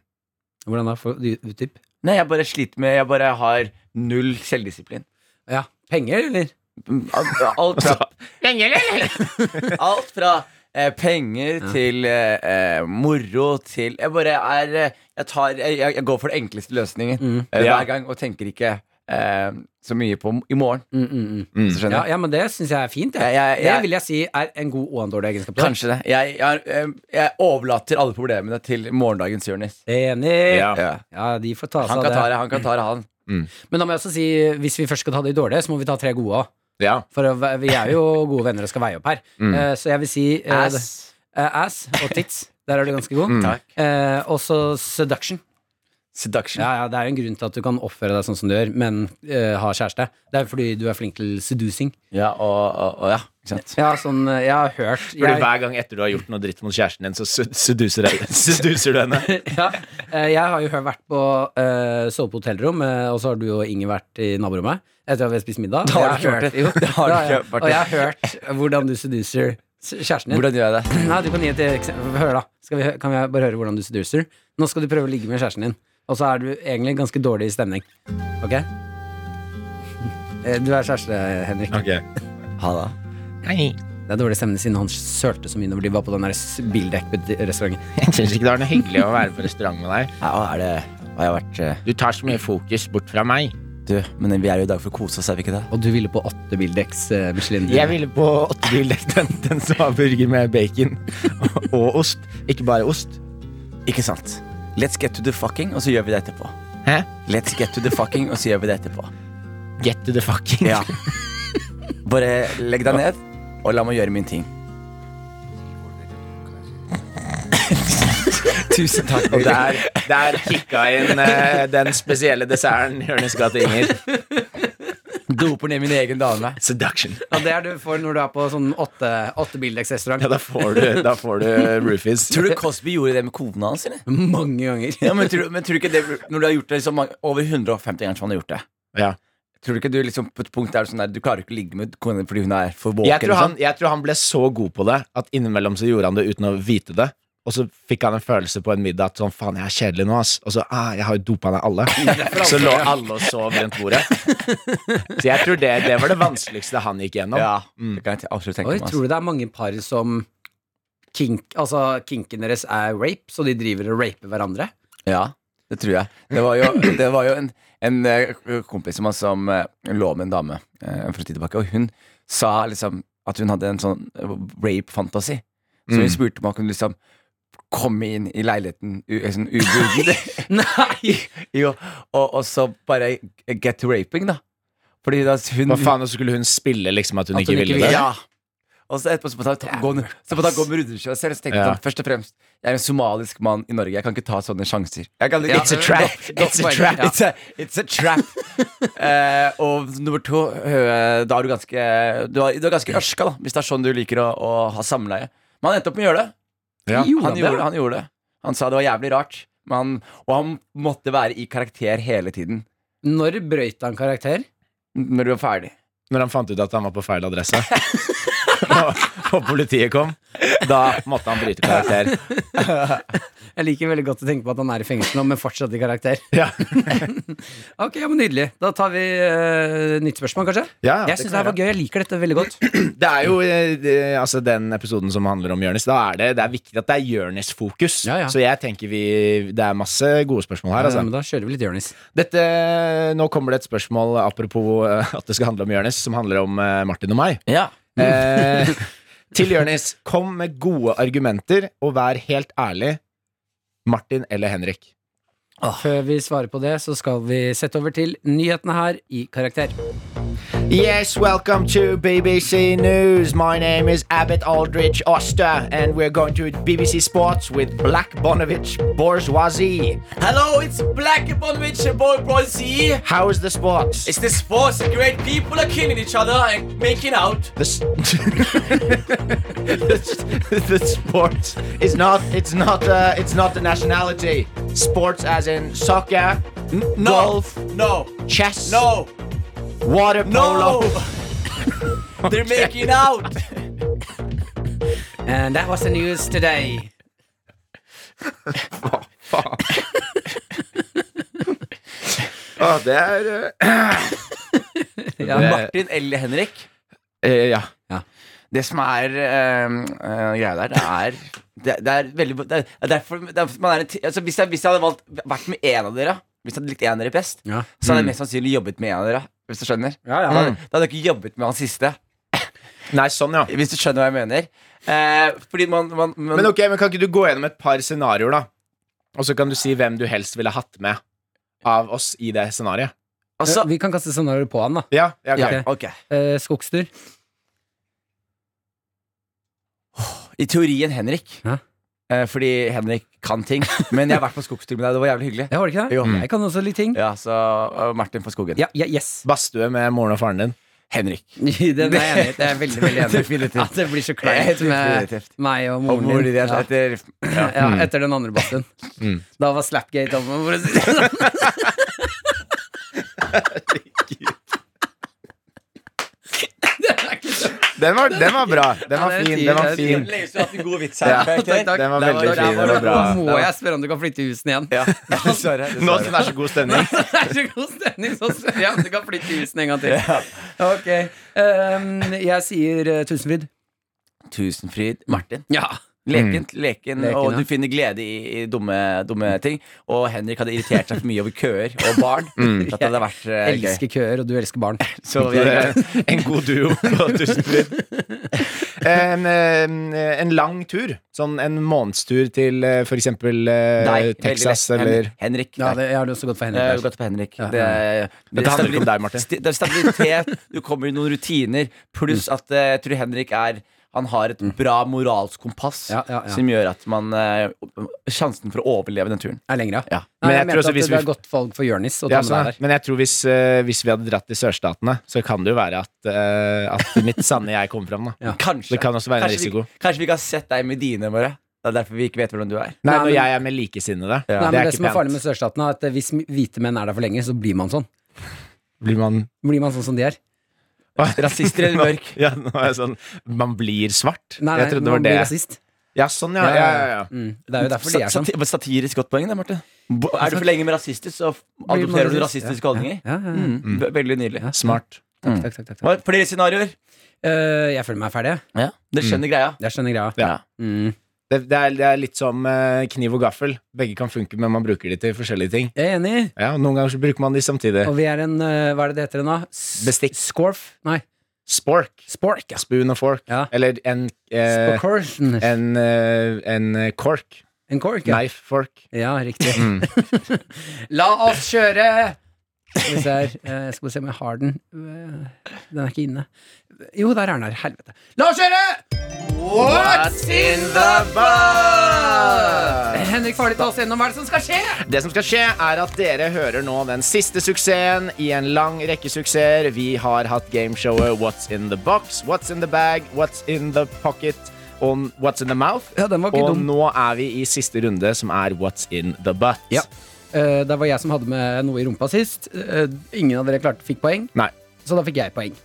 Hvordan da? Får du utdyp? Nei, jeg bare sliter med Jeg bare har null selvdisiplin. Ja. Penger, eller? Alt, [LAUGHS] alt fra Alt fra eh, penger til eh, eh, moro Mm. til Jeg bare er eh, Jeg, tar, jeg, jeg går for den enkleste løsningen eh, Ja. hver gang og tenker ikke eh, så mye på i morgen. Mm, mm, mm. Så skjønner Ja, ja, men det syns jeg er fint. Jeg. Jeg- jeg- Det jeg- vil jeg si er en god og en dårlig egenskap. til deg. Kanskje det. Jeg, jeg, har, eh, jeg overlater alle problemene til morgendagens Jonis. Enig. Ja. Ja. Ja, de får ta Han seg kan ta av det. det, han kan ta det, han. Men da må jeg også si, hvis vi først skal ta de dårlige, så må vi ta tre gode òg. Ja. For å ve- vi er jo [LAUGHS] gode venner og skal veie opp her. Eh, så jeg vil si eh, Mm. Ass. Mm. det- eh, ass og tits. Der er du ganske god. Takk. Eh, også seduction. Seduction. Ja, ja, Det er jo en grunn til at du kan oppføre deg sånn som du gjør, men eh, ha kjæreste. Det er fordi du er flink til seducing. Ja, og, og, og ja, ikke sant. Ja, sånn, eh, jeg har hørt Fordi jeg, hver gang etter du har gjort noe dritt mot kjæresten din, så sed- seduser jeg- seduser du henne. [LAUGHS] ja, eh, jeg har jo hørt- vært på uh, sove på hotellrom, eh, og så har du og Inger vært i naborommet etter at vi har spist middag. Da har Jeg du ikke vært det. jo, [LAUGHS] Da har du da har jeg- ikke vært Og det. jeg har hørt hvordan du seducer s- kjæresten din. Hvordan gjør jeg [CLEARS THROAT] det? Nei, du kan gi et eksempel. Hør, da. Skal vi, hø- kan jeg bare høre hvordan du seducer? Nå skal du prøve å ligge med kjæresten din, og så er du egentlig ganske dårlig i stemning. Ok? [LAUGHS] Eh, Du er kjæreste, Henrik. Ha det. Nei, Det er dårlig stemning siden han sølte så mye når de var på den der s- bildekk-restauranten. jeg syns ikke det er noe hyggelig å være på restaurant med deg. Ja, og er det Har jeg vært eh, Du tar så mye fokus bort fra meg. Du, men vi er jo i dag for å kose oss, er vi ikke det? Og du ville på åtte bildekks eh, Michelin. Jeg ville på åttebil [LAUGHS] den, den som har burger med bacon og ost. Ikke bare ost. Ikke sant? Let's get to the fucking, og så gjør vi det etterpå. Hæ? Let's get to the fucking, og så gjør vi det etterpå. Get to the fucking. [LAUGHS] Ja. Bare legg deg ned, og la meg gjøre min ting. Tusen takk. Og der, der kicka inn eh, den spesielle desserten Jonis ga til Inger. doper ned min egen dame. Seduction. [LAUGHS] Ja, det er du får når du er på sånn åtte, åtte bildekks-restaurant. Ja, da får du, da får du roofies. Tror du Cosby gjorde det med kona hans, eller? Mange ganger. Ja, men, tror, men tror du ikke det Når du har gjort det liksom, over 150 ganger som han har gjort det Ja. Tror du ikke du liksom på et punkt der, sånn der du klarer ikke å ligge med kona din fordi hun er for våken? Jeg tror, liksom? han, jeg tror han ble så god på det at innimellom så gjorde han det uten å vite det. Og så fikk han en følelse på en middag at sånn, faen, jeg er kjedelig nå, ass. Og så, ah, jeg har jo dopa ned [LAUGHS] alle. Så lå alle og sov rundt bordet. Så jeg tror det, det var det vanskeligste han gikk gjennom. Ja, det kan jeg absolutt tenke Oi, meg. tror du det er mange par som kink, altså, kinken deres er rape, så de driver og [LAUGHS] raper hverandre? ass. Ja, det tror jeg. Det var jo, det var jo en, en eh, kompis som, som eh, lå med en dame eh, for en tid tilbake, og hun sa liksom at hun hadde en sånn eh, rape-fantasi. Så Mm. hun spurte om han kunne liksom komme inn i leiligheten u, sånn ubudent. Nei! [LAUGHS] jo, og, og så bare get to raping, da. Fordi da hun Hva faen, og så skulle hun spille liksom at hun, At ikke, hun ikke ville ville. det? Ja. Og så etterpå så må jeg ta- gå ned- så må jeg gå med rundrundskjøret selv. Så tenkte jeg Ja. sånn, først og fremst Jeg er en somalisk mann i Norge. Jeg kan ikke ta sånne sjanser. Jeg kan, Ja, It's a trap. godt- godt It's a poeng, trap. ja. It's a, it's a [LAUGHS] trap. Eh, og nummer to eh, Da er du ganske Du er, du er ganske ørska, da, hvis det er sånn du liker å, å ha samleie. Men han endte opp med å gjøre det. Ja. Gjorde han han, det? gjorde, han gjorde det. Han sa det var jævlig rart. Men han, og han måtte være i karakter hele tiden. Når brøyt han karakter? Når du var ferdig. Når han fant ut at han var på feil adresse [LAUGHS] og, og politiet kom, da måtte han bryte karakter. Jeg liker veldig godt å tenke på at han er i fengsel nå, men fortsatt i karakter. Ja, Ok, ja, men Nydelig. Da tar vi eh, nytt spørsmål, kanskje? Ja, jeg det syns kan det her var vi gøy. Jeg liker dette veldig godt. Det er jo eh, det- altså, den episoden som handler om Jonis. Da er det, det er viktig at det er Jonis-fokus. Ja, ja. Mm. Så jeg tenker vi Det er masse gode spørsmål her. Ja, Altså. Eh, men da kjører vi litt Jonis. Dette, nå kommer det et spørsmål apropos eh, at det skal handle om Jonis, som handler om eh, Martin og meg. Ja. Mm. Eh, til Jonis, kom med gode argumenter, og vær helt ærlig. Martin eller Henrik? Før vi svarer på det, så skal vi sette over til nyhetene her i Karakter. Yes, welcome to BBC News. My name is Abbott Aldrich Oster, and we're going to BBC Sports with Black Bonovich Bourgeoisie. Hello, it's Black upon which a boy boy see. How is the sports? It's the sports and great people are killing each other and making out. the, s- [LAUGHS] the, s- [LAUGHS] the sports is not. It's not. Uh, it's not the nationality. Sports, as in soccer, No, golf, no, chess, no, water polo. no. [LAUGHS] They're making [LAUGHS] out. And that was the news today. det er Ja, Det- Martin eller Henrik? Ja. Det som er eh, eh, greia der, det er det, det er veldig det er derfor, det er, man er en, ti- altså hvis, jeg, hvis jeg hadde valgt, vært med en av dere, Hvis jeg hadde likt én av dere best, Ja. så hadde jeg Mm. mest sannsynlig jobbet med en av dere. Hvis du skjønner Ja, Da hadde, da hadde jeg ikke jobbet med han siste. Nei, sånn, ja. Hvis du skjønner hva jeg mener. Eh, fordi man, man, man Men ok, men kan ikke du gå gjennom et par scenarioer, da? Og så kan du si hvem du helst ville hatt med av oss i det scenarioet. altså, Eh, Vi kan kaste scenarioer på han, da. Ja, ja, ok. Ja. Ok. Eh, skogstur. I teorien Henrik. Ja. Eh, fordi Henrik kan ting. Men jeg har vært på skogstur med deg. Det var jævlig hyggelig. Jeg har det ikke det? Jo. Mm. Jeg kan også litt ting. Ja, så og Martin fra skogen. Ja, ja [LAUGHS] yes. Badstue med moren og faren din. Henrik. Den er jeg enig i. Det er veldig, veldig [LAUGHS] enig i. Definitivt. At det blir så kleint med Definitivt. meg og Og moren moren din. din Ja. heter Ja, etter den andre bassen. Mm. Da var Slapgate oppe. for å si det sånn. Den var, den var bra. [LAUGHS] Den Ja, var det er fin. fint, Den var det er fin. fint. [LAUGHS] Lengst du har hatt en god vits Ja. Takk, [LAUGHS] takk. Den var Det var- veldig fin. det Den var var bra. Nå må jeg spørre om du kan flytte i husene igjen. Ja, dessverre. Nå som det er så god stemning. [LAUGHS] Det er så god stemning, så spør jeg om du kan flytte i husene en gang til. Ok. Ehm, jeg sier eh, Tusenfryd. Tusenfryd. Martin. Ja. Mm. Lekent, leken, Leken, og ja. du finner glede i, i dumme, dumme ting. Og Henrik hadde irritert seg for mye over køer og barn. Mm. Så at det hadde vært eh, gøy. Elsker køer, og du elsker barn. Så [LAUGHS] vi Det er er En god duo på Tusenfryd. En, eh, en lang tur. Sånn en månedstur til eh, for eksempel eh, Deg, Texas veldig lett. eller Hen- Henrik. Ja, det, jeg har det også godt for Det er jo Henrik. godt for Henrik. Ja. Det, er- Dette handler ikke om deg, Martin. sti- Det er stabilitet, du kommer i noen rutiner, pluss at eh, jeg tror Henrik er han har et bra moralsk kompass Ja, ja, ja. som gjør at man eh, Sjansen for å overleve den turen. Er lenger, ja. Ja. Men Nei, jeg, jeg tror mente også at hvis det vi- er godt valg for Jørnis å ta Ja, med sånn, deg der. Men jeg tror hvis, eh, hvis vi hadde dratt til sørstatene, så kan det jo være at, eh, at mitt sanne jeg kommer fram. Da. Ja. Kanskje. Det kan også være en kanskje, risiko. Vi, kanskje vi ikke har sett deg med dine våre. Det er derfor vi ikke vet hvordan du er. Nei, Nei, når men- jeg er med likesinnede, Ja. det Nei, men er det som ikke er farlig med pent. sørstaten, er at eh, hvis hvite menn er der for lenge, så blir man sånn. Blir man Blir man sånn som de er. Rasister eller mørk. Ja, [LAUGHS] nå er jeg sånn Man blir svart? Nei, jeg nei trodde det man var det. blir rasist. Ja, sånn, ja. ja, ja, ja. Mm. Det er jo derfor de er sånn. Sati- Satirisk godt poeng, det, Martin. Bo- Er du for lenge med rasister, så f- Blir man adopterer du rasist, ja. rasistiske holdninger. Ja, ja, ja. Mm. ve- Veldig nydelig. Smart. Mm. Takk, takk, takk, takk. Hva- Flere scenarioer. Eh, jeg føler meg ferdig. jeg. Ja. Dere skjønner greia. Jeg skjønner greia. Ja. Mm. Det, det, er, det er litt som eh, kniv og gaffel. Begge kan funke, men man bruker de til forskjellige ting. Jeg er enig. Ja, og Noen ganger så bruker man de samtidig. Og vi er en eh, Hva er det det heter nå? Bestikk. Scorf? Nei, Spork. spork. Ja. Spoon og fork. Ja. Eller en eh, Sporkorsen. en, eh, en eh, cork. En kork, ja. Knife fork. Ja, riktig. [LAUGHS] La oss kjøre! Skal vi se her. Eh, skal vi se om jeg har den. Eh, Den er ikke inne. Jo, der er den her. Helvete. La oss kjøre! What's in the box? Henrik Farli, ta oss gjennom hva er det som skal skje? Det som skal skje, er at dere hører nå den siste suksessen i en lang rekke suksesser. Vi har hatt gameshowet What's in the box, What's in the bag, What's in the pocket og What's in the mouth. Ja, den var ikke og dum. nå er vi i siste runde, som er What's in the butt. Ja. Eh, det var jeg som hadde med noe i rumpa sist. Eh, ingen av dere klarte fikk poeng, Nei. så da fikk jeg poeng.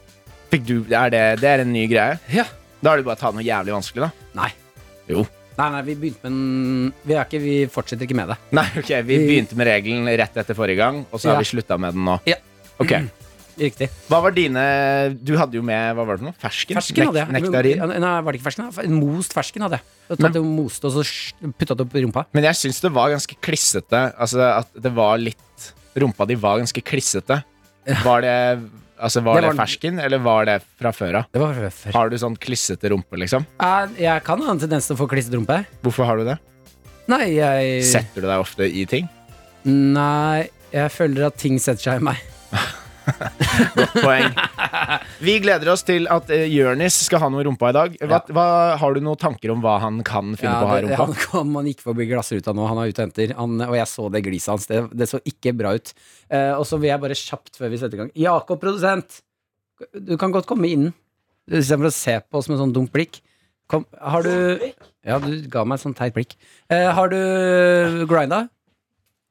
Fikk du, er det, det er en ny greie. Ja. Da har du bare tatt noe jævlig vanskelig, da. Nei. Jo. Nei, nei, vi begynte med en Vi, er ikke, vi fortsetter ikke med det. Nei, ok, Vi begynte med regelen rett etter forrige gang, og så har Ja. vi slutta med den nå. Ja. Ok, [CLEARS THROAT] Riktig. Hva var dine Du hadde jo med hva var det for noe? Fersken? Fersken hadde jeg. Nek nektarin? Ja, Nei, var det ikke fersken? da? En Most fersken hadde jeg. Da tatt jeg og moste og så sj- putta det opp i rumpa. Men jeg syns det var ganske klissete. Altså at det var litt Rumpa di var ganske klissete. Var det Altså var Det det, var den- fersken, eller var det fra før av? Det var før. Har du sånn klissete rumpe, liksom? Jeg kan ha en tendens til å få klissete rumpe. Hvorfor har du det? Nei, jeg Eh. Setter du deg ofte i ting? Nei, jeg føler at ting setter seg i meg. [LAUGHS] Poeng. Vi gleder oss til at eh, Jørnis skal ha noe i rumpa i dag. Hva, hva, har du noen tanker om hva han kan finne på å ha i det, rumpa? han, kom, han gikk forbi glassruta nå, han er ute og henter. Han, og jeg så det gliset hans. Det, det så ikke bra ut. Eh, og så vil jeg bare kjapt før vi setter i gang Jakob, produsent! Du kan godt komme inn. Istedenfor å se på oss med sånn dumt blikk. Kom, har du Ja, du ga meg et sånt teit blikk. Eh, har du grinda?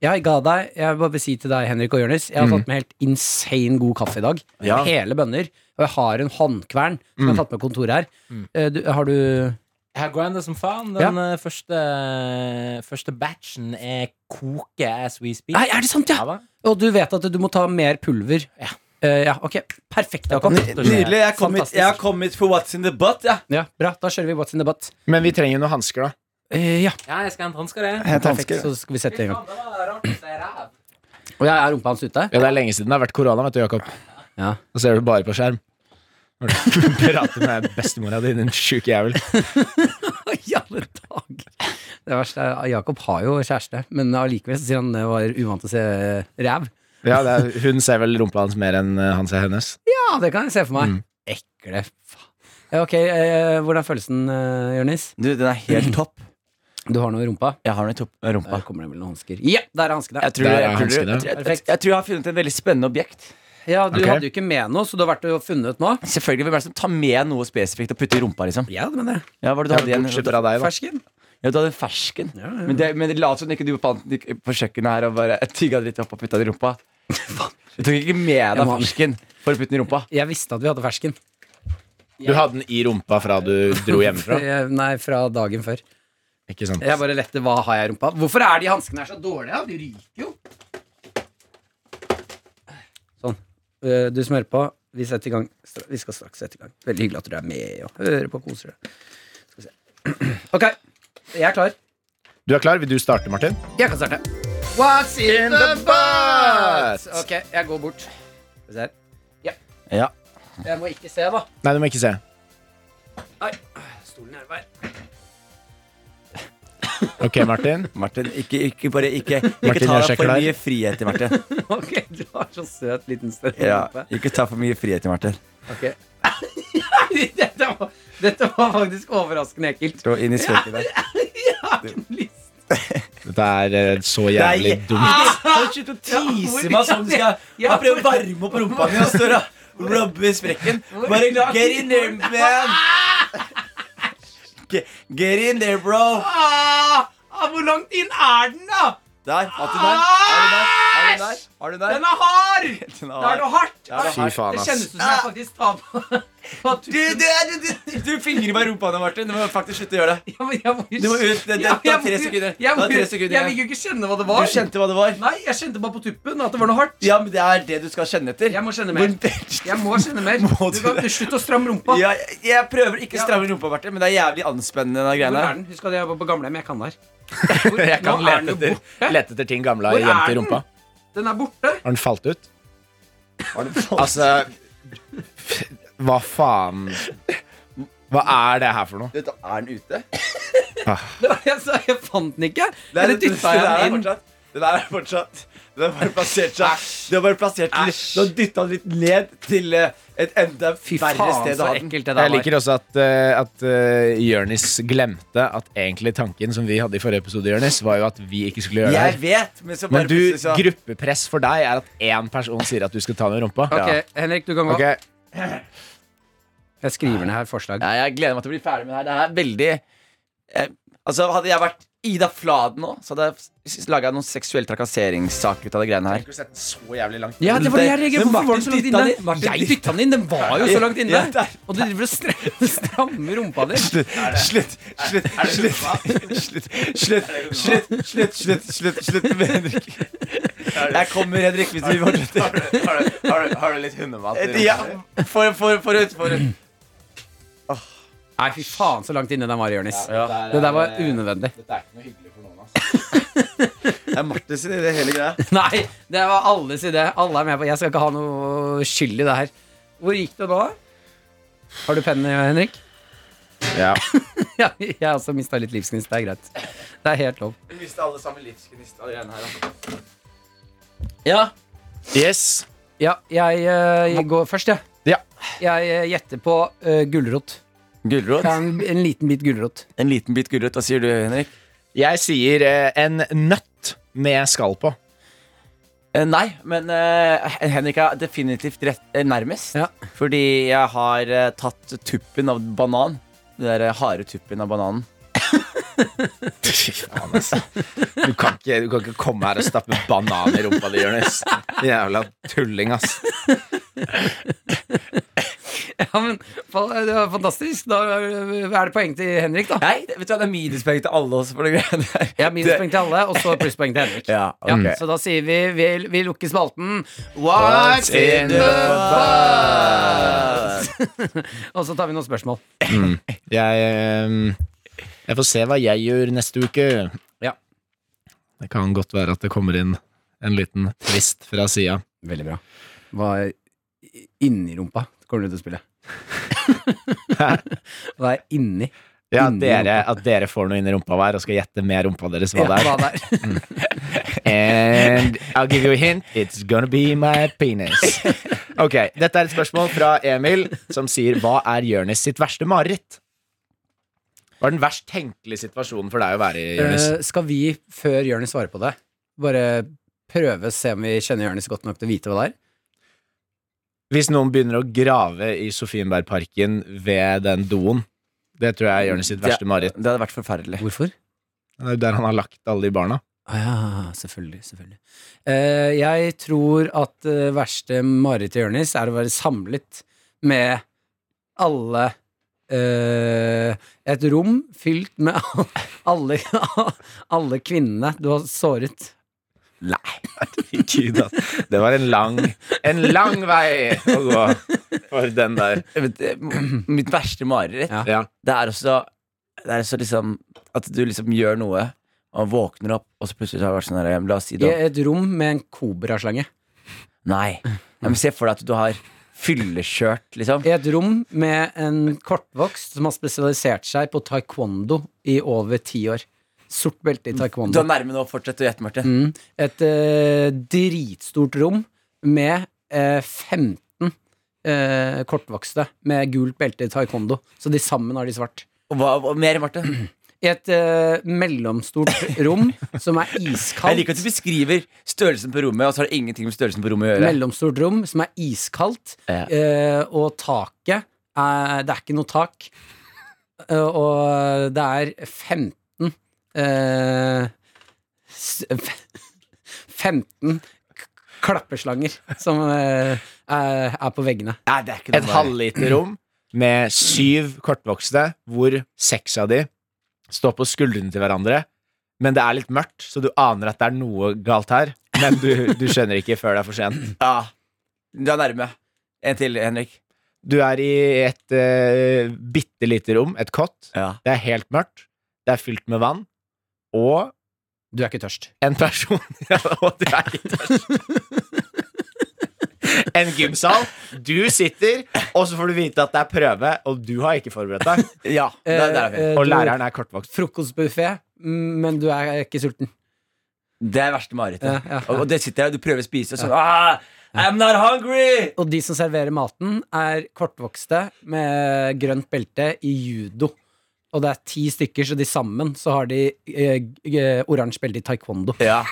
Ja, jeg ga deg Jeg bare vil si til deg, Henrik og Jonis, jeg har fått med helt insane god kaffe i dag. Mm. Ja. Mm. Hele bønner. Og jeg har en håndkvern som jeg har tatt med kontoret her. Eh, du, har du Jeg har grindet som faen. Den eh, første, eh, første batchen er koke as we speak. Nei, er det sant, ja? hva? Og du vet at du må ta mer pulver. Ja, ja ok. Perfekt, Jakob. Nydelig. Jeg kom, hit, jeg har kommet for What's in the butt. Ja. Ja, bra. Da kjører vi What's in the butt. Men vi trenger jo noen hansker, da. Eh, ja, Ja, jeg skal hente hansker, jeg. perfekt. Så skal vi sette i gang. Faen, det var rart å si ræv. Og jeg er rumpa hans ute. Ja, det er lenge siden det har vært korona, vet du, Jakob. Ja. Da ser du bare på [LAUGHS] skjerm. Når du prater med bestemora di, din sjuke jævel. [LAUGHS] I alle dager! Det verste er Jakob har jo kjæreste, men allikevel så sier han det var uvant til å se eh, ræv. Ja, det er, hun ser vel rumpa hans mer enn eh, han ser hennes. Ja, det kan jeg se for meg. Ekle faen. Ja, ok, eh, hvordan er følelsen, eh, Jonis? Du, den er helt topp. Du har noe i rumpa? Jeg har den i topp eh, rumpa. Der kommer det vel noen hansker. Ja, der er hanskene. Jeg tror, Der er jeg, tror, jeg, hanskene. tror, jeg, jeg, tror jeg har funnet en veldig spennende objekt. Ja, du Ok. hadde jo ikke med noe, så du har vært og funnet noe. Selvfølgelig, Hvem er det som tar med noe spesifikt og putter i rumpa? liksom Ja, det mener jeg. Ja, hva var det du hadde igjen? Bortsett fra deg, da. Fersken. Ja, du hadde en fersken. Ja, ja, ja. Men, det, men det la oss som ikke du fant den på kjøkkenet her og bare tygga dritt opp og putta den i rumpa. Du tok ikke med Jeg deg må- fersken for å putte den i rumpa. Jeg visste at vi hadde fersken. Du hadde den i rumpa fra du dro hjemmefra. [LAUGHS] Eh, Nei, fra dagen før. Ikke sant? Jeg bare lette, hva har jeg i rumpa? Hvorfor er de hanskene her så dårlige? De ryker jo. Sånn. Eh, Du som hører på, vi setter i gang. stra- Vi skal straks sette i gang. Veldig hyggelig at du er med og hører på og koser deg. Skal vi se. [CLEARS THROAT] Ok, jeg er klar. Du er klar? Vil du starte, Martin? Jeg kan starte. What's in the butt? butt? Ok, jeg går bort. Skal vi se her. Ja. Ja. Jeg må ikke se, da. Nei, du må ikke se. Nei, stolen er i vei. Ok, Martin. Martin, ikke, ikke bare Ikke, ikke Martin ta gjør deg seg for klar. mye frihet til Martin. [LAUGHS] Ok, du har så søt liten større Ja, rumpe. ikke ta for mye frihet til Martin. Ok. [LAUGHS] dette, var, dette var faktisk overraskende ekkelt. Gå inn i skrekket der. Jeg har ikke lyst. Dette er eh, så jævlig Nei. Ah. dumt. Slutt å tease meg sånn. Du skal jeg prøver å varme opp rumpa mi og står og rubber sprekken. Bare get in there, man. Get, get in there, bro. Ah, ah, hvor langt inn er den, da? Der. Har du den der? Har du den der? Har du den der? Den er hard! Den Da er det hardt. Ja, det er Fy faen, Det ass. kjennes ut som jeg faktisk tar på på Du, tusen. du, du, du, du fingrer meg i rumpa nå, Martin. Du må faktisk slutte å gjøre det. Ja, men jeg må jo- Du må ut. Det, det, Ja, det jeg er må tre jo- sekunder. Det Jeg, må er tre jo- sekunder jeg igjen. vil jo ikke kjenne hva det Du var. kjente hva det var. Nei, jeg kjente bare på tuppen at det var noe hardt. Ja, men det er det du skal kjenne etter. Jeg må kjenne mer. Hvor- Jeg må kjenne mer. Må Du du kan det? Slutt å stramme rumpa. Ja, jeg, jeg prøver ikke å stramme rumpa, Martin, men det er jævlig anspennende. den Hvor greiene er her. den? Husk at jeg var på gamlehjem. Jeg kan [LAUGHS] der. Jeg kan Nå er lete den jo etter, borte. lete etter ting gamle har Hvor gjemt er i den? rumpa. Den er borte. [LAUGHS] Har den falt ut? Altså Hva faen? Hva er det her for noe? Dette er den ute? Jeg, sa- jeg fant den ikke. Eller dytta den jeg er den inn? fortsatt. Den er her fortsatt. Den har bare plassert seg. Den har bare plassert den litt- Æsj. Den har dytta den litt ned til eh, et enda Fy verre faen, sted så å ha den. ekkelt det der Jeg var. liker også at, uh, at eh, Jørnis glemte at egentlig tanken som vi hadde i forrige episode, Jørnis, var jo at vi ikke skulle gjøre det Jeg her. vet, men så bare Men du, plutselig så gruppepress for deg er at én person sier at du skal ta den i rumpa. Ok, Henrik, du kan gå. Ok, Jeg skriver ned her forslag. Nei, Jeg gleder meg til å bli ferdig med det her. Det er veldig eh, Altså, Hadde jeg vært Ida Fladen nå, så hadde jeg laga noen seksuell trakasseringssak ut av det greiene her. så jævlig langt Ja, det var det jeg reagerte på. Men Hvorfor var den så Martin langt inne? dytta den inn. Martin Jeg dytta den inn. Den var jo så langt inne. Ja, der. Og du driver og [LAUGHS] stre- strammer rumpa di. Slutt, slutt, slutt, slutt, slutt, slutt, slutt, slutt, slutt, slutt, slutt med Henrik. Jeg kommer, Henrik, hvis du fortsetter. Har du litt hundemat? Ja, for, for, forut, forut. Nei, fy faen, så langt inne den var, Jonis. Det der var unødvendig. [LAUGHS] Dette er ikke noe hyggelig for noen. Det er Martin sin idé, hele greia. Nei, det var alles idé. Alle er med på Jeg skal ikke ha noe skyld i det her. Hvor gikk det nå? Har du pennen, Henrik? [LAUGHS] Ja. Ja, jeg har også mista litt livsgnist. Det er greit. Det er helt lov. Vi mister alle sammen livsgnist av greiene her. Ja. Yes. Ja, jeg, eh, jeg går først, jeg. Ja. Jeg eh, gjetter på uh, gulrot. Gulrot. En, en liten bit gulrot. En liten bit gulrot. Hva sier du, Henrik? Jeg sier eh, en nøtt med skall på. Eh, Nei, men eh, Henrik er definitivt rett, eh, nærmest. Ja. Fordi jeg har eh, tatt tuppen av banan. Den der eh, harde tuppen av bananen. [LAUGHS] Fy faen, altså. Du kan, ikke, du kan ikke komme her og stappe banan i rumpa di, Jonis. Jævla tulling, ass. Ja, men fa- det var fantastisk. Da er det poeng til Henrik, da. Nei, det- vet du hva, det er minuspoeng til alle oss for det greiene der. Ja, Minuspoeng til alle, og så plusspoeng til Henrik. Ja, ok. Ja, så da sier vi vi, vi lukker spalten, What's in the box? og så tar vi noen spørsmål. Jeg, eh, jeg får se hva jeg gjør neste uke. Ja. Det kan godt være at det kommer inn en liten twist fra sida. Veldig bra. Hva er inni rumpa kommer du til å spille? [LAUGHS] Hva er inni? Ja, at Inni dere, at dere får noe inn i rumpa hver og skal gjette med rumpa deres hva det er. Hva det er? And I'll give you a hint. It's gonna be my [LAUGHS] penis. Ok, Dette er et spørsmål fra Emil, som sier hva er Jonis sitt verste mareritt? Hva er den verst tenkelige situasjonen for deg å være i, Jonis? Eh, skal vi, før Jonis svarer på det, bare prøve å se om vi kjenner Jonis godt nok til å vite hva det er? Hvis noen begynner å grave i Sofienbergparken ved den doen. Det tror jeg er Jonis sitt verste mareritt. Det hadde vært forferdelig. Hvorfor? Det er jo der han har lagt alle de [LAUGHS] barna. Ah, ja, selvfølgelig, selvfølgelig. Eh, jeg tror at det verste marerittet til Jonis er å være samlet med alle eh, Et rom fylt med al- alle, [LAUGHS] alle kvinnene du har såret. Gud, ass. Det var en lang, en lang vei å gå for den der. Vet [CLEARS THROAT] du, Mitt verste mareritt Ja. Ja. Det er også Det er også liksom At du liksom gjør noe Og våkner opp Og så plutselig så har det vært sånn her ja, men La oss si I det et rom med en kobraslange. Nei ja, Men se for deg at du har Fyllekjørt liksom I et rom med en kortvokst som har spesialisert seg på taekwondo i over ti år. Sort belte i Du taekwondo. er nærme nå Fortsett å gjette Martin Mm. Et eh, dritstort rom med eh, 15 eh, kortvokste med gult belte i taekwondo. Så de sammen har de svart. Og hva og mer Martin Mm. I et eh, mellomstort rom [LAUGHS] som er Jeg iskaldt. liker at du beskriver Størrelsen på rommet Og så har det ingenting med størrelsen på rommet å gjøre Mellomstort rom som er iskaldt, Ja. eh, og taket er, Det er ikke noe tak. Eh, og det er 15 eh, s- f- 15 k- klapperslanger som eh, er, er på veggene. Nei det er ikke noe Et bare- halvliterrom med syv kortvokste, hvor seks av de står på skuldrene til hverandre. Men det er litt mørkt, så du aner at det er noe galt her. Men du, du skjønner ikke før det er for sent. Ja Du er nærme En til Henrik Du er i et uh, bitte lite rom, et kott. Ja Det er helt mørkt. Det er fylt med vann. Og Du er ikke tørst. en person [LAUGHS] ja, Og du er litt tørst. En gymsal. Du sitter, og så får du vite at det er prøve, og du har ikke forberedt deg. Ja Det er der er vi Eh, eh, Og du- læreren er kortvokst. Frokostbuffé, mm, men du er ikke sulten. Eh, Det er verste marerittet Ja, ja, ja. Og, og det sitter der Og du prøver å spise Og sånn ah, I'm not hungry Og de som serverer maten, er kortvokste med grønt belte i judo. Og det er ti stykker, så de sammen så har de eh, g- eh, oransje belte i taekwondo. Ja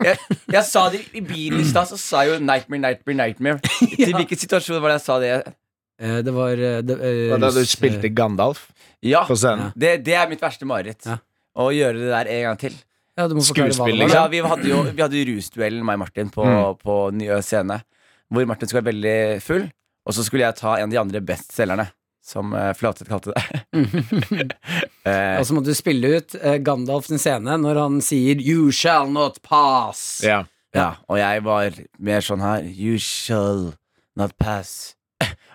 jeg, jeg sa det i bilen i stad, så sa jeg jo 'nightmare, nightmare, [LAUGHS] nightmare'. Til hvilken situasjon var det jeg sa det? Eh, det var eh, det, eh, Da du russ- spilte Gandalf Ja, på scenen. det, det er mitt verste mareritt. Ja. Å gjøre det der en gang til. ja, du må forklare hva det skuespill, var. Ja, vi hadde jo, vi hadde jo rusduellen, meg og Martin, på, Mm. på nye scene. Hvor Martin skulle være veldig full, og så skulle jeg ta en av de andre bestselgerne. Som uh, Flatseth kalte det. Mhm. eh. Og så måtte du spille ut eh, Gandalf sin scene når han sier 'You shall not pass'. Ja. Ja, og jeg var mer sånn her You shall not pass.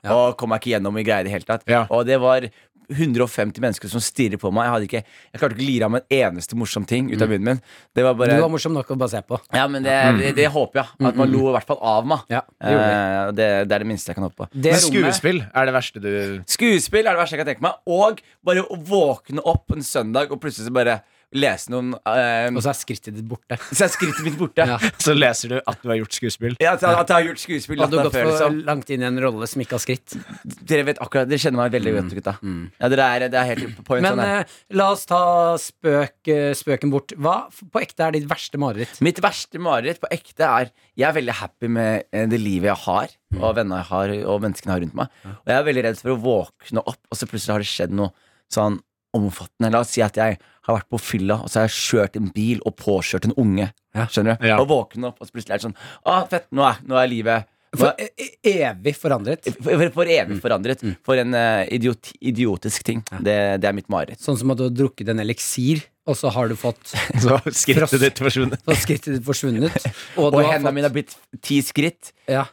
Og kom meg ikke gjennom i greia i det hele tatt. Ja. Og det var 150 mennesker som stirrer på meg. Jeg, hadde ikke, jeg klarte ikke å lire av en eneste morsom ting ut av munnen min. Det var bare Mm. Du var Mm. morsom nok å bare se på. Ja, men det, det, det håper jeg. At man lo i hvert fall av meg. mm. Ja, det det, gjorde eh, det, det er det minste jeg kan håpe på. Det Men rommet skuespill er det verste du Skuespill er det verste jeg kan tenke meg. Og bare å våkne opp en søndag og plutselig så bare lese noen eh, Og så er skrittet ditt borte. Så er skrittet mitt [LAUGHS] borte. Ja. Ja. [LAUGHS] Så leser du at du har gjort skuespill. at, jeg- at jeg har gjort skuespill Og du natta har gått før, for liksom. langt inn i en rolle som ikke har skritt. Dere vet akkurat, dere kjenner meg veldig godt, Mm. gutta. Ja, dere er, det er helt på en Men sånn her. eh, la oss ta spøk, eh, spøken bort. Hva f- på ekte er ditt verste mareritt? Mitt verste mareritt på ekte er Jeg er veldig happy med eh, det livet jeg har, Mm. og vennene jeg har, og menneskene jeg har rundt meg. Og jeg er veldig redd for å våkne opp, og så plutselig har det skjedd noe sånn omfattende. La oss si at jeg har vært på fylla, og så har jeg kjørt en bil og påkjørt en unge. Skjønner du? Ja. Og våkne opp, og så plutselig er det sånn Å, fett, nå er, nå er livet nå For, er, e- e- evig forandret. for, for Mm. evig forandret. For en eh, idiot, idiotisk ting. Det, det er mitt mareritt. Sånn som at du har drukket en eliksir, og så har du fått Så skrittet ditt forsvunnet. så har skrittet ditt [LAUGHS] forsvunnet. Og, du Og har hendene fått- mine har blitt ti skritt. ja.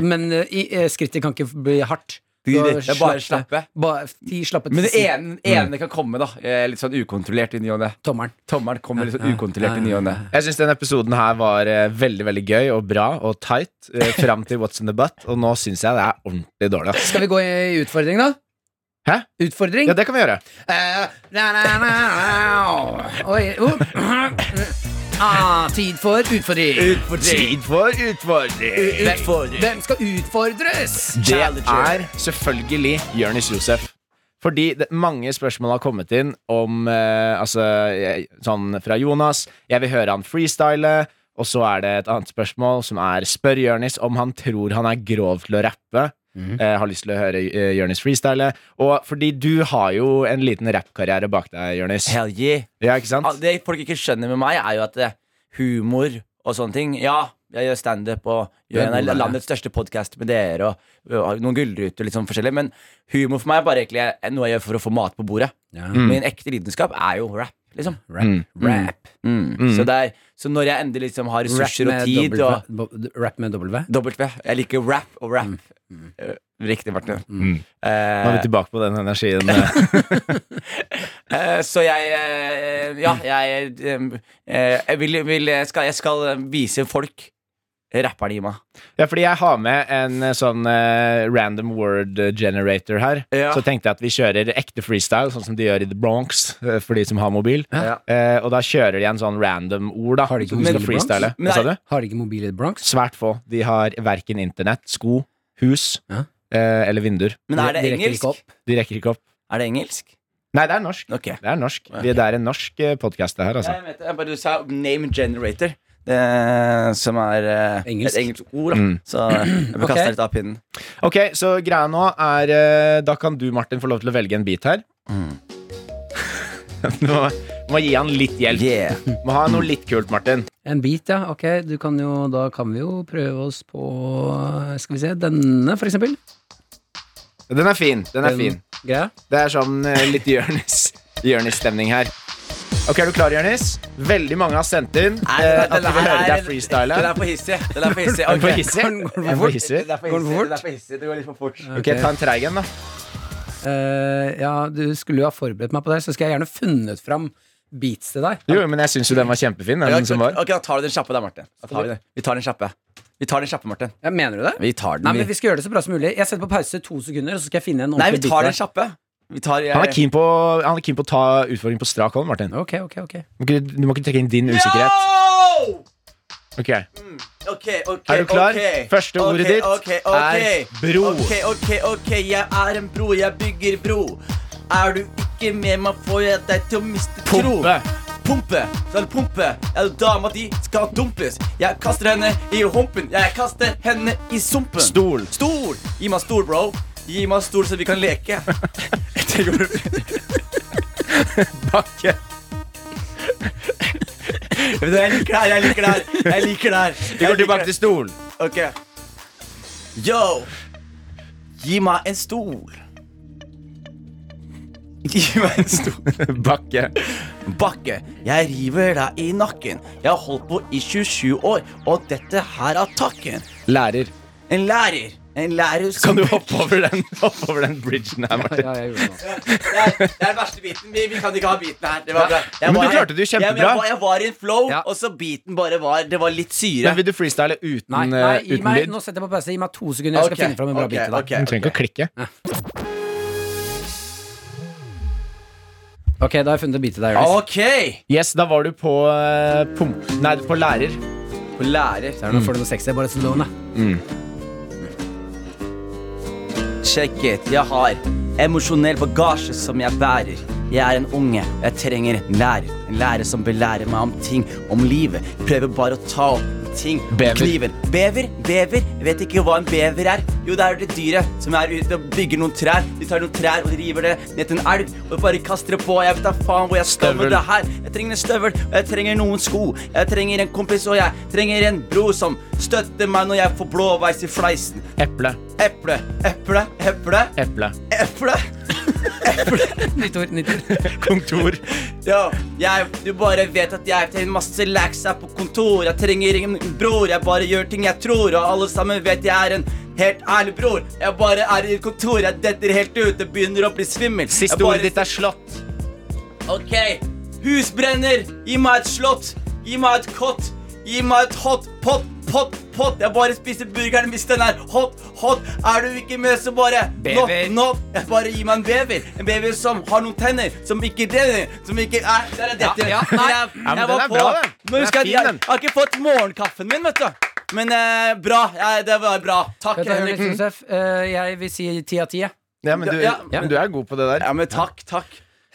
Men eh, i- eh, skrittet kan ikke bli hardt. Du har Det er bare slappe- slappe. Ba, ti slappe Men det tisser. ene, ene kan komme, da. eh, Litt sånn ukontrollert i ny og ne. Tommelen. Tommelen kommer litt sånn ukontrollert i ny og ne. Jeg syns denne episoden her var eh, veldig veldig gøy og bra og tight [LAUGHS] eh, fram til What's in the butt, og nå syns jeg det er ordentlig dårlig. ass. Skal vi gå i utfordring, da? Hæ? Utfordring? Ja, det kan vi gjøre. Eh, na, na, na, na. Oi, oh. [CLEARS THROAT] ah, Tid for utfordring. Tid for utfordring. Hvem skal utfordres? Det er selvfølgelig Jonis Josef. Fordi det, mange spørsmål har kommet inn om eh, Altså, jeg, sånn fra Jonas. Jeg vil høre han freestyle. Og så er det et annet spørsmål som er Spør Jonis om han tror han er grov til å rappe. Eh, har lyst til å høre eh, Jonis freestyle. Og fordi du har jo en liten rappkarriere bak deg, Jonis. Hell yeah. Ja, ikke sant? Al- Det folk ikke skjønner med meg, er jo at eh, humor og sånne ting Ja, jeg gjør standup og gjør en av landets største podkast med dere og, og har noen gullruter og litt sånn forskjellig, men humor for meg er bare egentlig eh, noe jeg gjør for å få mat på bordet. Min ekte lidenskap er jo rap, liksom. Mm. Rap. Mm. Så, det er, så når jeg endelig liksom har ressurser og tid og Rap med W. Dobbelt V. Jeg liker rap og rap. Mm. Eh, Riktig, Martin. Nå er Eh, vi tilbake på den energien. eh. eh, så jeg eh, Ja, jeg, eh, eh, jeg vil, vil jeg, skal, jeg skal vise folk rapperne i meg. [LAUGHS] Ja, fordi jeg har med en eh, sånn eh, random word generator her. Ja. Så tenkte jeg at vi kjører ekte freestyle, sånn som de gjør i The Bronx, eh, for de som har mobil. Ja. Eh, og da kjører de en sånn random ord, da. Har de ikke som mobil skal i Bronx? freestyle. Nei. Hva sa du? Har de ikke mobil i The Bronx? Svært få. De har verken internett, sko, hus Ja. eh, eller vinduer. Men er det De rekker ikke engelsk? opp. De rekker ikke opp. Er det engelsk? Nei, det er norsk. Ok. Det er norsk. Vi- Det er en norsk eh, podcast, det her, altså. Jeg vet det. Jeg bare du sa name generator, eh, som er eh, Engelsk. et engelsk ord. Da. Mm. Så eh, jeg bør kaste Ok. litt av pinnen. Ok, så greia nå er eh, Da kan du, Martin, få lov til å velge en bit her. Mm. [LAUGHS] du må, må gi han litt hjelp. Yeah. Må ha noe litt kult, Martin. En bit, ja. Ok, du kan jo, da kan vi jo prøve oss på Skal vi se, denne, for eksempel. Den er fin. den er Den fin Greia. Det er sånn eh, litt Jonis- Jonis-stemning her. Ok, Er du klar, Jonis? Veldig mange har sendt inn Nei, eh, den- at de den vil høre er- deg freestyle. Den er for hissig. Den er [LAUGHS] for hissig. Er du for Ok. hissig? Er du for hissig? Den er for Går den for hissig. Den er for hissig. Det går litt for fort. Ok, ta en treig en, da. Eh, ja, du skulle jo ha forberedt meg på det, så skulle jeg gjerne funnet fram beats til deg. Jo, men jeg syns jo den var kjempefin. Ja, Den som var. Ok, da tar du den kjappe da, Martin. Da tar vi, den. vi tar den kjappe. Vi tar den kjappe, Martin. Ja, mener du det? Vi tar den, Nei, men vi. Vi skal gjøre det så bra som mulig. Jeg setter på pause to sekunder, og så skal jeg finne en Nei, vi ordentlig bit. tar den til kjappe. Vi tar, eh, jeg, Han er keen på, han er keen på å ta utfordringen på strak hånd, Martin. deg. Ok, ok, ok. Du må ikke- du må ikke trekke inn din usikkerhet. No! Ok, Er Ok, ok, du klar? ok. Første ordet Ok, ditt ok, ok. er bro. Ok, ok, ok, jeg er en bro, jeg bygger bro. Er du ikke med meg, får jeg deg til å miste tro. Pumpe. Pumpe, skal pumpe. Er du dama di, skal dumpes. Jeg kaster henne i humpen, jeg kaster henne i sumpen. Stol. Stol. Gi meg stol, bro. Gi meg stol, så vi [LAUGHS] kan leke. Det går Bakke. Men Jeg liker det her, jeg liker det her. Jeg liker det her. Vi går tilbake til stol. Ok. Yo! Gi meg en stol. Gi meg en stol. Bakke. Bakke, jeg river deg i nakken. Jeg har holdt på i 27 år, og dette her er takken. Lærer. En lærer. En lærer som Kan du hoppe over den, [LAUGHS] hoppe over den bridgen her, Martin? Ja, jeg gjorde det. nå. Det er, det er den verste biten. Vi, vi kan ikke ha biten her. Det var bra. Jeg Men du var- klarte det jo jeg- kjempebra. Jeg, var- jeg var i en flow, Ja. og så biten bare var Det var litt syre. Men vil du freestyle uten, Nei, nei eh, gi uten meg, lyd? nå setter jeg på pause. Gi meg to sekunder, jeg skal Ok, finne fram en bra ok, bit til deg. ok, Du trenger ikke å klikke. Ok, da har jeg funnet en bit til deg, Jonis. Ok! Yes, da var du på eh, pump... Nei, på lærer. På lærer. Så er det noe for noe sexy, bare slow ned. Check it. Jeg har emosjonell bagasje som jeg bærer. Jeg er en unge. Jeg trenger en lærer. En lærer som belærer meg om ting, om livet. Prøver bare å ta opp ting. Bever. Kniven. Bever, bever. Jeg vet ikke hva en bever er. Jo, det er det dyret som er ute og bygger noen trær. De tar noen trær og river det ned til en elv og bare kaster det på. Jeg vet da faen hvor jeg skal med Støvel. det her. Jeg trenger en støvel, og jeg trenger noen sko. Jeg trenger en kompis, og jeg trenger en bror som støtter meg når jeg får blåveis i fleisen. Eple. Eple, eple, eple. Eple. Eple. Nytt ord, nytt ord. Kontor. Yo, jeg, du bare vet at jeg trenger masse lax her på kontor. Jeg trenger ingen bror, jeg bare gjør ting jeg tror. Og alle sammen vet jeg er en Helt ærlig, bror. Jeg bare er i et kontor. Jeg detter helt ut. Det begynner å bli svimmel. Siste Jeg bare- ordet ditt er slått. Ok, husbrenner, gi meg et slott, gi meg et kott, gi meg et hot pot, pot, pot. Jeg bare spiser burgeren hvis den er hot, hot. Er du ikke med, så bare Bever. Nå, nå. Jeg bare gi meg en bever. En bever som har noen tenner, som ikke renner, som ikke er Der er dette. Ja, ja, nei. Jeg, men jeg den var er på. bra, den. Nå Den er husker jeg at fin, jeg, den. jeg har ikke fått morgenkaffen min, vet du. Men eh, bra. Ja, det var bra. Takk, Vet du, Henrik Henrik. Josef, eh, jeg vil si ti av ti. jeg. Ja, men du, Ja, ja. men du er god på det der. Ja, men takk, takk.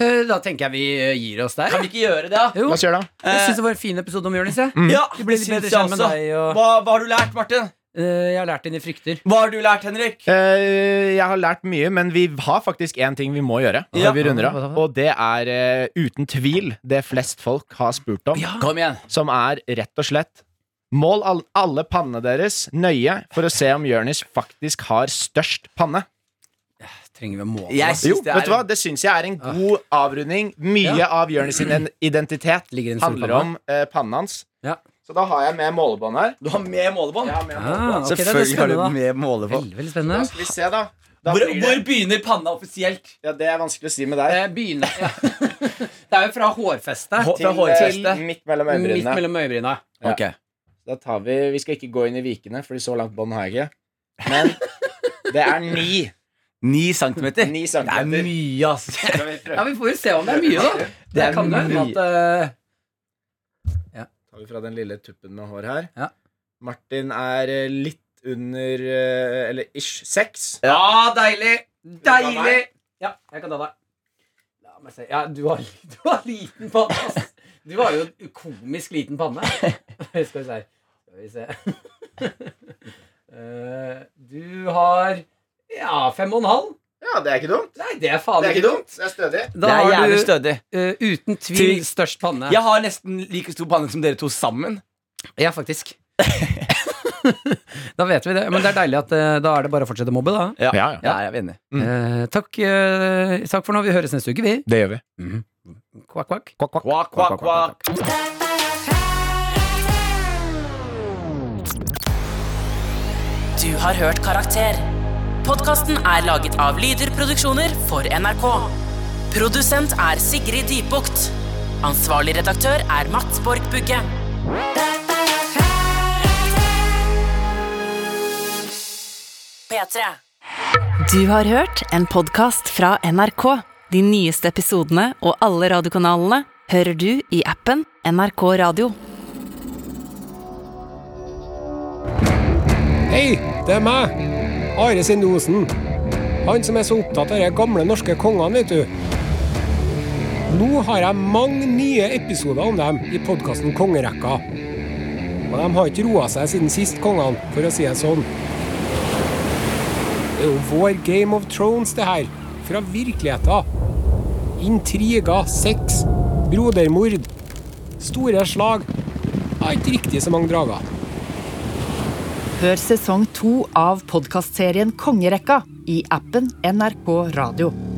Eh, Da tenker jeg vi eh, gir oss der. Kan vi ikke gjøre det, da? Jo, La oss jeg gjøre det. syns det var en fin episode om Jonis. jeg. Ja, Vi ble litt syns bedre jeg kjent med også. deg, og- Hva, hva har du lært, Martin? Eh, Jeg har lært dine frykter. Hva har du lært, Henrik? Eh, jeg har lært mye, men vi har faktisk én ting vi må gjøre. Ja. Når vi runder av Hva da? Og det er eh, uten tvil det flest folk har spurt om, Kom igjen. som er rett og slett Mål all, alle pannene deres nøye for å se om Jonis faktisk har størst panne. Trenger vi å måle? Jeg da? syns Jo, det er vet du hva? Det syns jeg er en god avrunding. Mye av Jonis sin en- identitet Ligger i en stor handler om panne. eh, pannen hans. Ja. Så da har jeg med målebånd her. Du har med målebånd? Ah, ok, det er Selvfølgelig har du spennende, da. med målebånd. Veldig, veldig Da spennende. skal vi se, da. da Hvor, blir det- hvor begynner panna offisielt? ja, det er vanskelig å si med deg. Eh, Begynne [LAUGHS] ja. Det er jo fra hårfestet Hå- til eh, fra hårfestet. Til eh, midt mellom midt øyebrynene. mellom øyebryna. Ja. Ok. Da tar vi Vi skal ikke gå inn i vikene, Fordi så langt bånd har jeg ikke. Men det er ni. Ni centimeter. Ni Det er centimeter. mye, ass. Skal vi prøve? Ja, Vi får jo se om det er mye, da. Det er kan jo hende mye. at eh, Tar vi fra den lille tuppen med hår her. Ja. Martin er eh, litt under eh, Eller ish seks. Ja, deilig. Deilig. Ja, jeg kan ta deg. La meg se. Ja, du har, [LAUGHS] du har liten panne, ass. Du har jo en komisk liten [LAUGHS] panne. Skal vi se her. Skal vi se. [LAUGHS] Eh, du har ja, fem og en halv. Ja, det er ikke dumt. Nei, det er faen Det er ikke ikke dumt. dumt. Det er stødig. Da det er har jævlig du stødig. eh, uten tvil Til- størst panne. Jeg har nesten like stor panne som dere to sammen. Ja, faktisk. da vet vi det. Men det er deilig at eh, da er det bare å fortsette å mobbe, da. Ja, ja. Ja, jeg er enig. Eh, takk, eh, takk for nå. Vi høres neste uke, vi. Det gjør vi. Kvakk, kvakk. Kvakk, kvakk, kvakk. Du har hørt Karakter. Podkasten er laget av Lyder Produksjoner for NRK. Produsent er Sigrid Dybukt. Ansvarlig redaktør er Mats Borg Bugge. P3. Du har hørt en podkast fra NRK. De nyeste episodene og alle radiokanalene hører du i appen NRK Radio. Hei, det er meg. Are Sinde Osen. Han som er så opptatt av de gamle norske kongene, vet du. Nå har jeg mange nye episoder om dem i podkasten Kongerekka. Og de har ikke roa seg siden sist, kongene, for å si det sånn. Det er jo vår Game of Thrones, det her. Fra virkeligheten. Intriger, sex, brodermord. Store slag. Ja, ikke riktig så mange drager. Hør sesong to av podkastserien Kongerekka i appen NRK Radio.